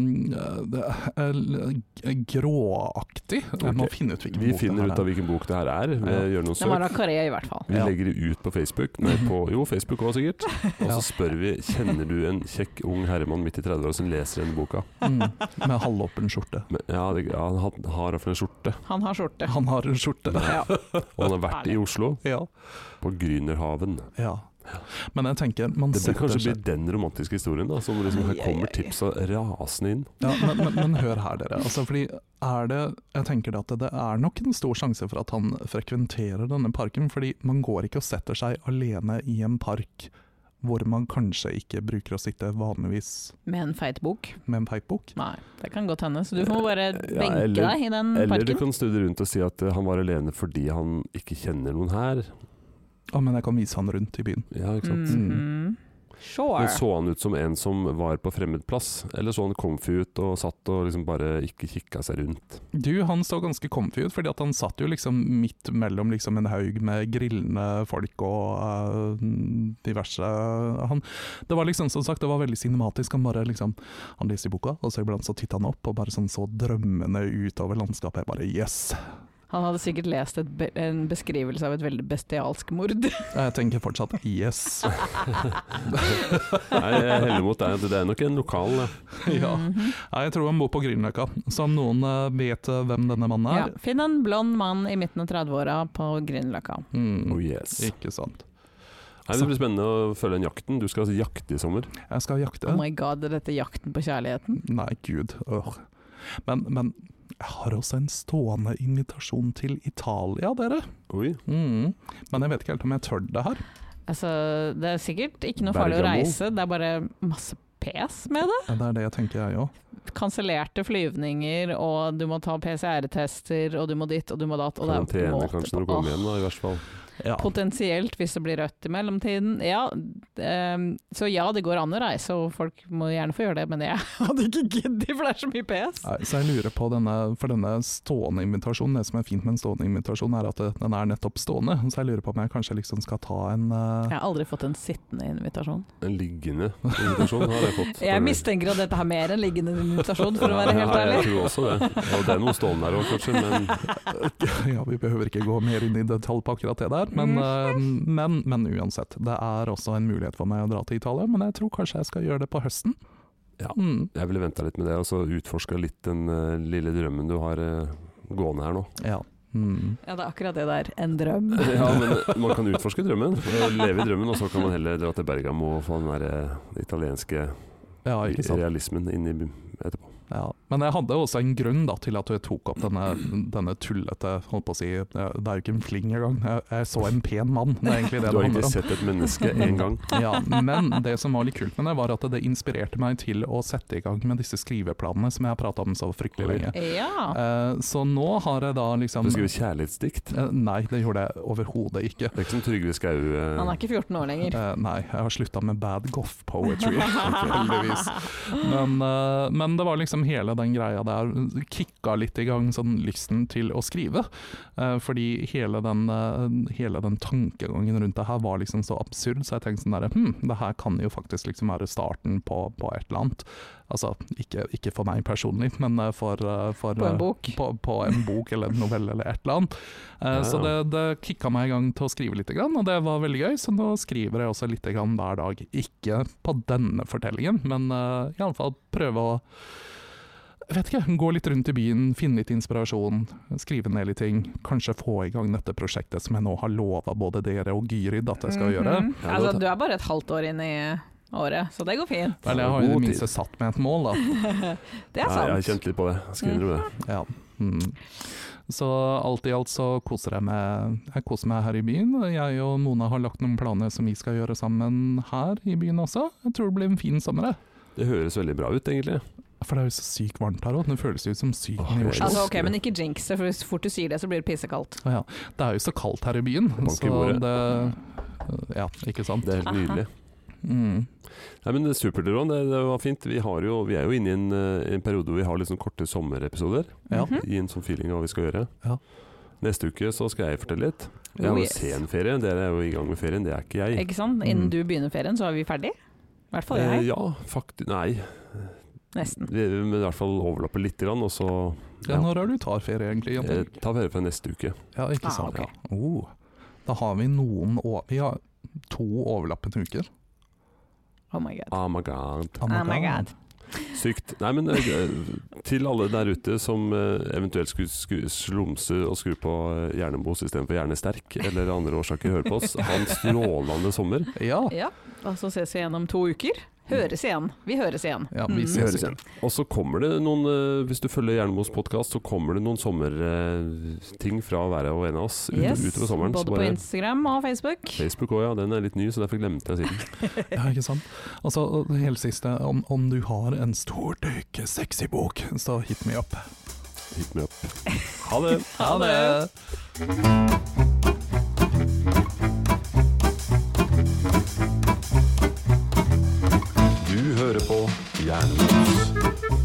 Speaker 3: det er l- gråaktig. Jeg må
Speaker 1: Ok.
Speaker 3: finne ut hvilken
Speaker 1: Vi
Speaker 3: bok
Speaker 1: finner
Speaker 3: det
Speaker 1: ut
Speaker 3: her
Speaker 1: av hvilken bok det her er. Vi
Speaker 3: Ja.
Speaker 1: gjør noen
Speaker 2: Den var
Speaker 1: søk.
Speaker 2: av Karea, i hvert fall.
Speaker 1: Vi
Speaker 3: Ja.
Speaker 1: legger det ut på Facebook. Nei, på, jo, Facebook òg, sikkert. Og
Speaker 3: Ja.
Speaker 1: så spør vi kjenner du en kjekk ung herremann midt i 30-åra som leser denne boka.
Speaker 3: er. Mm, med halvåpen skjorte.
Speaker 1: Men, ja, det, ja, han har i hvert fall en skjorte.
Speaker 2: Han har skjorte.
Speaker 3: Han har en skjorte.
Speaker 2: Ja.
Speaker 1: Og han har vært i Oslo,
Speaker 3: Ja.
Speaker 1: på Grünerhaven.
Speaker 3: ja. Men jeg tenker man
Speaker 1: Det blir
Speaker 3: setter
Speaker 1: kanskje blir
Speaker 3: seg-
Speaker 1: den romantiske historien, da. Som liksom, her kommer tipsa rasende inn.
Speaker 3: Ja, men, men, men hør her, dere. Altså, fordi er det, jeg tenker det at det er nok en stor sjanse for at han frekventerer denne parken, fordi man går ikke og setter seg alene i en park hvor man kanskje ikke bruker å sitte vanligvis
Speaker 2: Med en feit bok.
Speaker 3: med en peipbok.
Speaker 2: Nei, det kan godt hende. Så du må bare benke
Speaker 1: eller-
Speaker 2: deg i
Speaker 3: Mm,
Speaker 2: den
Speaker 1: Eller du
Speaker 2: parken.
Speaker 1: kan snu det rundt og si at eh, han var alene fordi han ikke kjenner noen her.
Speaker 3: Å, men jeg kan vise han rundt i byen.
Speaker 1: Ja, ikke
Speaker 3: Mm.
Speaker 1: sant? Mm.
Speaker 2: Mhm. Sure.
Speaker 1: Men så han ut som en som var på fremmed plass, eller så han comfy ut og satt og liksom bare ikke kikka seg rundt?
Speaker 3: Du, han så ganske comfy ut, fordi at han satt jo liksom midt mellom liksom en haug med grillende folk og eh, diverse eh, han, Det var liksom, som sagt, det var veldig cinematisk. Han bare liksom Han leste i boka, og så iblant så titta han opp og bare sånn så drømmende utover landskapet. Jeg bare yes!
Speaker 2: Han hadde sikkert lest et be en beskrivelse av et veldig bestialsk mord.
Speaker 3: Jeg tenker fortsatt yes.
Speaker 1: Nei, jeg heller mot deg. Det er nok en lokal ja.
Speaker 3: Mm. ja.
Speaker 2: Mhm.
Speaker 3: Nei, Jeg tror han bor på Grünerløkka, så om noen eh, vet eh, hvem denne mannen
Speaker 2: ja.
Speaker 3: er
Speaker 2: Finn en blond mann i midten av 30-åra på Grünerløkka.
Speaker 3: mm,
Speaker 1: Oh yes.
Speaker 3: Ikke sant.
Speaker 1: Nei, det blir spennende å følge den jakten. Du skal altså jakte i sommer.
Speaker 3: Jeg skal jakte.
Speaker 2: Oh my god, er dette jakten på kjærligheten?
Speaker 3: Nei, gud. Øh. Men, men jeg har også en stående invitasjon til Italia, dere.
Speaker 1: Oi.
Speaker 3: Mm. Men jeg vet ikke helt om jeg tør det her.
Speaker 2: Altså, det er sikkert ikke noe farlig å
Speaker 1: Bergamo.
Speaker 2: reise, det er bare masse pes med det.
Speaker 3: Ja, Det er det jeg tenker, jeg òg.
Speaker 2: Kansellerte flyvninger, og du må ta PCR-tester, og du må dit, og du må datt. Og det er
Speaker 1: Karantene
Speaker 2: måte
Speaker 1: kanskje
Speaker 2: på-
Speaker 1: når du kommer hjem, da, i hvert fall.
Speaker 3: Ja.
Speaker 2: Potensielt, hvis det blir rødt i mellomtiden. Ja, ehm, så ja, det går an å reise, og folk må gjerne få gjøre det, men jeg hadde ikke giddet, for det er så mye PS.
Speaker 3: Nei, Så jeg lurer på denne, for denne stående invitasjonen, det som er fint med en stående invitasjon, er at det- den er nettopp stående. Så jeg lurer på om jeg kanskje liksom skal ta en eh,
Speaker 2: Jeg har aldri fått en sittende invitasjon.
Speaker 1: En liggende invitasjon har jeg fått.
Speaker 2: Jeg mistenker at dette er mer enn liggende invitasjon, for å være helt
Speaker 1: Ja, jeg
Speaker 2: ærlig.
Speaker 1: tror også det. Ja, det er noe stående her òg, kanskje, men
Speaker 3: Ja, vi behøver ikke gå mer inn i detalj på akkurat det der, men, eh, men, men uansett. Det er også en mulighet for meg å dra til Italia, men jeg tror kanskje jeg skal gjøre det på høsten.
Speaker 1: Ja.
Speaker 3: Mm.
Speaker 1: jeg ville venta litt med det, og så utforska litt den eh, lille drømmen du har eh, gående her nå.
Speaker 3: Ja. Mm.
Speaker 2: Ja, det er akkurat det der. En drøm.
Speaker 1: Ja, men eh, man kan utforske drømmen, og leve i drømmen, og så kan man heller dra til Bergamo og få den der eh, italienske
Speaker 3: ja, ikke sant.
Speaker 1: realismen inn i etterpå.
Speaker 3: Ja. Men jeg hadde også en grunn da, til at du tok opp denne, denne tullete holdt på å si, Det er jo ikke en fling engang. Jeg, jeg så en pen mann, det er egentlig
Speaker 1: Du
Speaker 3: det
Speaker 1: har
Speaker 3: det
Speaker 1: egentlig
Speaker 3: handler om.
Speaker 1: sett et menneske én gang.
Speaker 3: Ja, men det som var litt kult med det, var at det inspirerte meg til å sette i gang med disse skriveplanene som jeg har prata om så fryktelig
Speaker 1: Oi.
Speaker 3: lenge.
Speaker 2: Ja.
Speaker 3: Eh, så nå har jeg da liksom
Speaker 1: Du skriver kjærlighetsdikt.
Speaker 3: Eh, Nei, det gjorde jeg overhodet ikke.
Speaker 1: Det er ikke som Trygve Skau eh,
Speaker 2: Han er ikke 14 år lenger.
Speaker 3: Eh, nei, jeg har slutta med bad goth poetry, heldigvis. Men, eh, men det var liksom hele den greia der kicka litt i gang sånn lysten til å skrive. Eh, fordi hele den, eh, hele den tankegangen rundt det her var liksom så absurd, så jeg tenkte sånn derre Hm, det her kan jo faktisk liksom være starten på, på et eller annet. Altså, ikke, ikke for meg personlig, men eh, for, eh, for
Speaker 2: På
Speaker 3: eh,
Speaker 2: en bok.
Speaker 3: på, på en bok eller en novelle eller et eller annet. Eh,
Speaker 1: Ja.
Speaker 3: Så det, det kicka meg i gang til å skrive litt, og det var veldig gøy. Så nå skriver jeg også litt grann hver eh, dag. Ikke på denne fortellingen, men iallfall prøve å jeg vet ikke, gå litt rundt i byen, finne litt inspirasjon, skrive ned litt ting. Kanskje få i gang dette prosjektet som jeg nå har lova både dere og Gyrid at jeg skal gjøre.
Speaker 2: Mhm.
Speaker 1: Ja,
Speaker 2: altså,
Speaker 1: det-
Speaker 2: du er bare et halvt år inn i året, så det går fint.
Speaker 3: Eller jeg har i
Speaker 1: God
Speaker 3: det
Speaker 1: tid.
Speaker 3: minste satt meg et mål, da.
Speaker 2: Det
Speaker 1: Nei, jeg
Speaker 2: er
Speaker 1: har
Speaker 2: sant.
Speaker 1: kjent litt på det. Jeg skal innrømme det.
Speaker 3: Ja. Mm. Så alt i alt så koser jeg meg Jeg koser meg her i byen. og Jeg og Mona har lagt noen planer som vi skal gjøre sammen her i byen også. Jeg tror det blir en fin sommer. jeg.
Speaker 1: Det høres veldig bra ut, egentlig.
Speaker 3: For det er jo så sykt varmt her òg. Det føles jo som Syden i
Speaker 1: Åh,
Speaker 3: Oslo.
Speaker 2: Altså, ok, Men ikke jinx det, for hvis fort du sier det, så blir det pissekaldt.
Speaker 3: Ja, det er jo så kaldt her i byen.
Speaker 1: banker i
Speaker 3: Så
Speaker 1: bordet.
Speaker 3: det Ja, ikke sant.
Speaker 1: Det er helt nydelig.
Speaker 3: Mm.
Speaker 1: Nei, men Supert, Ron. Det, det var fint. Vi, har jo, vi er jo inne i en, eh, en periode hvor vi har litt sånn korte sommerepisoder.
Speaker 3: Ja.
Speaker 2: Mhm.
Speaker 1: Gi en sånn feeling av hva vi skal gjøre.
Speaker 3: Ja.
Speaker 1: Neste uke så skal jeg fortelle litt. Jeg har
Speaker 2: Oh,
Speaker 1: jo
Speaker 2: yes.
Speaker 1: sen ferie. Dere er jo i gang med ferien. Det er ikke jeg.
Speaker 2: Ikke sant?
Speaker 3: Mm.
Speaker 2: Innen du begynner ferien, så er vi ferdig. I hvert fall
Speaker 1: Eh,
Speaker 2: jeg.
Speaker 1: ja, faktisk Nei.
Speaker 2: Nesten.
Speaker 1: Vi, men i hvert fall overlappe litt, grann, og så
Speaker 3: ja, når er du tar ferie egentlig?
Speaker 1: eh,
Speaker 3: Jante?
Speaker 1: ta ferie fra neste uke.
Speaker 3: Ja, ikke
Speaker 2: Ah,
Speaker 3: sant.
Speaker 2: ok.
Speaker 3: Ja. Oh, da har vi noen å- Vi har to overlappende uker.
Speaker 2: Oh my god.
Speaker 1: Oh my god.
Speaker 3: Oh
Speaker 2: Oh my god.
Speaker 1: Sykt. Nei, men eh, til alle der ute som eh, eventuelt skulle sku, slumse og skru på eh, Hjernemos istedenfor Hjernesterk, eller av andre årsaker høre på oss, ha en strålende sommer.
Speaker 3: Ja.
Speaker 2: Ja, og så ses vi igjen om to uker. Høres igjen. Vi høres igjen.
Speaker 3: Ja, vi
Speaker 2: Mm.
Speaker 1: Vi
Speaker 3: ses
Speaker 1: høres igjen. Og så kommer det noen, eh, hvis du følger Jernemos podkast, så kommer det noen sommerting fra hver og en av oss ut-
Speaker 2: Yes,
Speaker 1: utover sommeren.
Speaker 2: Både
Speaker 1: så
Speaker 2: på
Speaker 1: bare
Speaker 2: Instagram og Facebook.
Speaker 1: Facebook òg, ja. Den er litt ny, så derfor glemte jeg siden.
Speaker 3: Ja, ikke sant? Altså, det hele siste, om, om du har en stor, dykke, sexy bok, så hit me up.
Speaker 1: Hit meg opp. Ha det!
Speaker 2: Ha det!
Speaker 1: Du hører på Jernemos.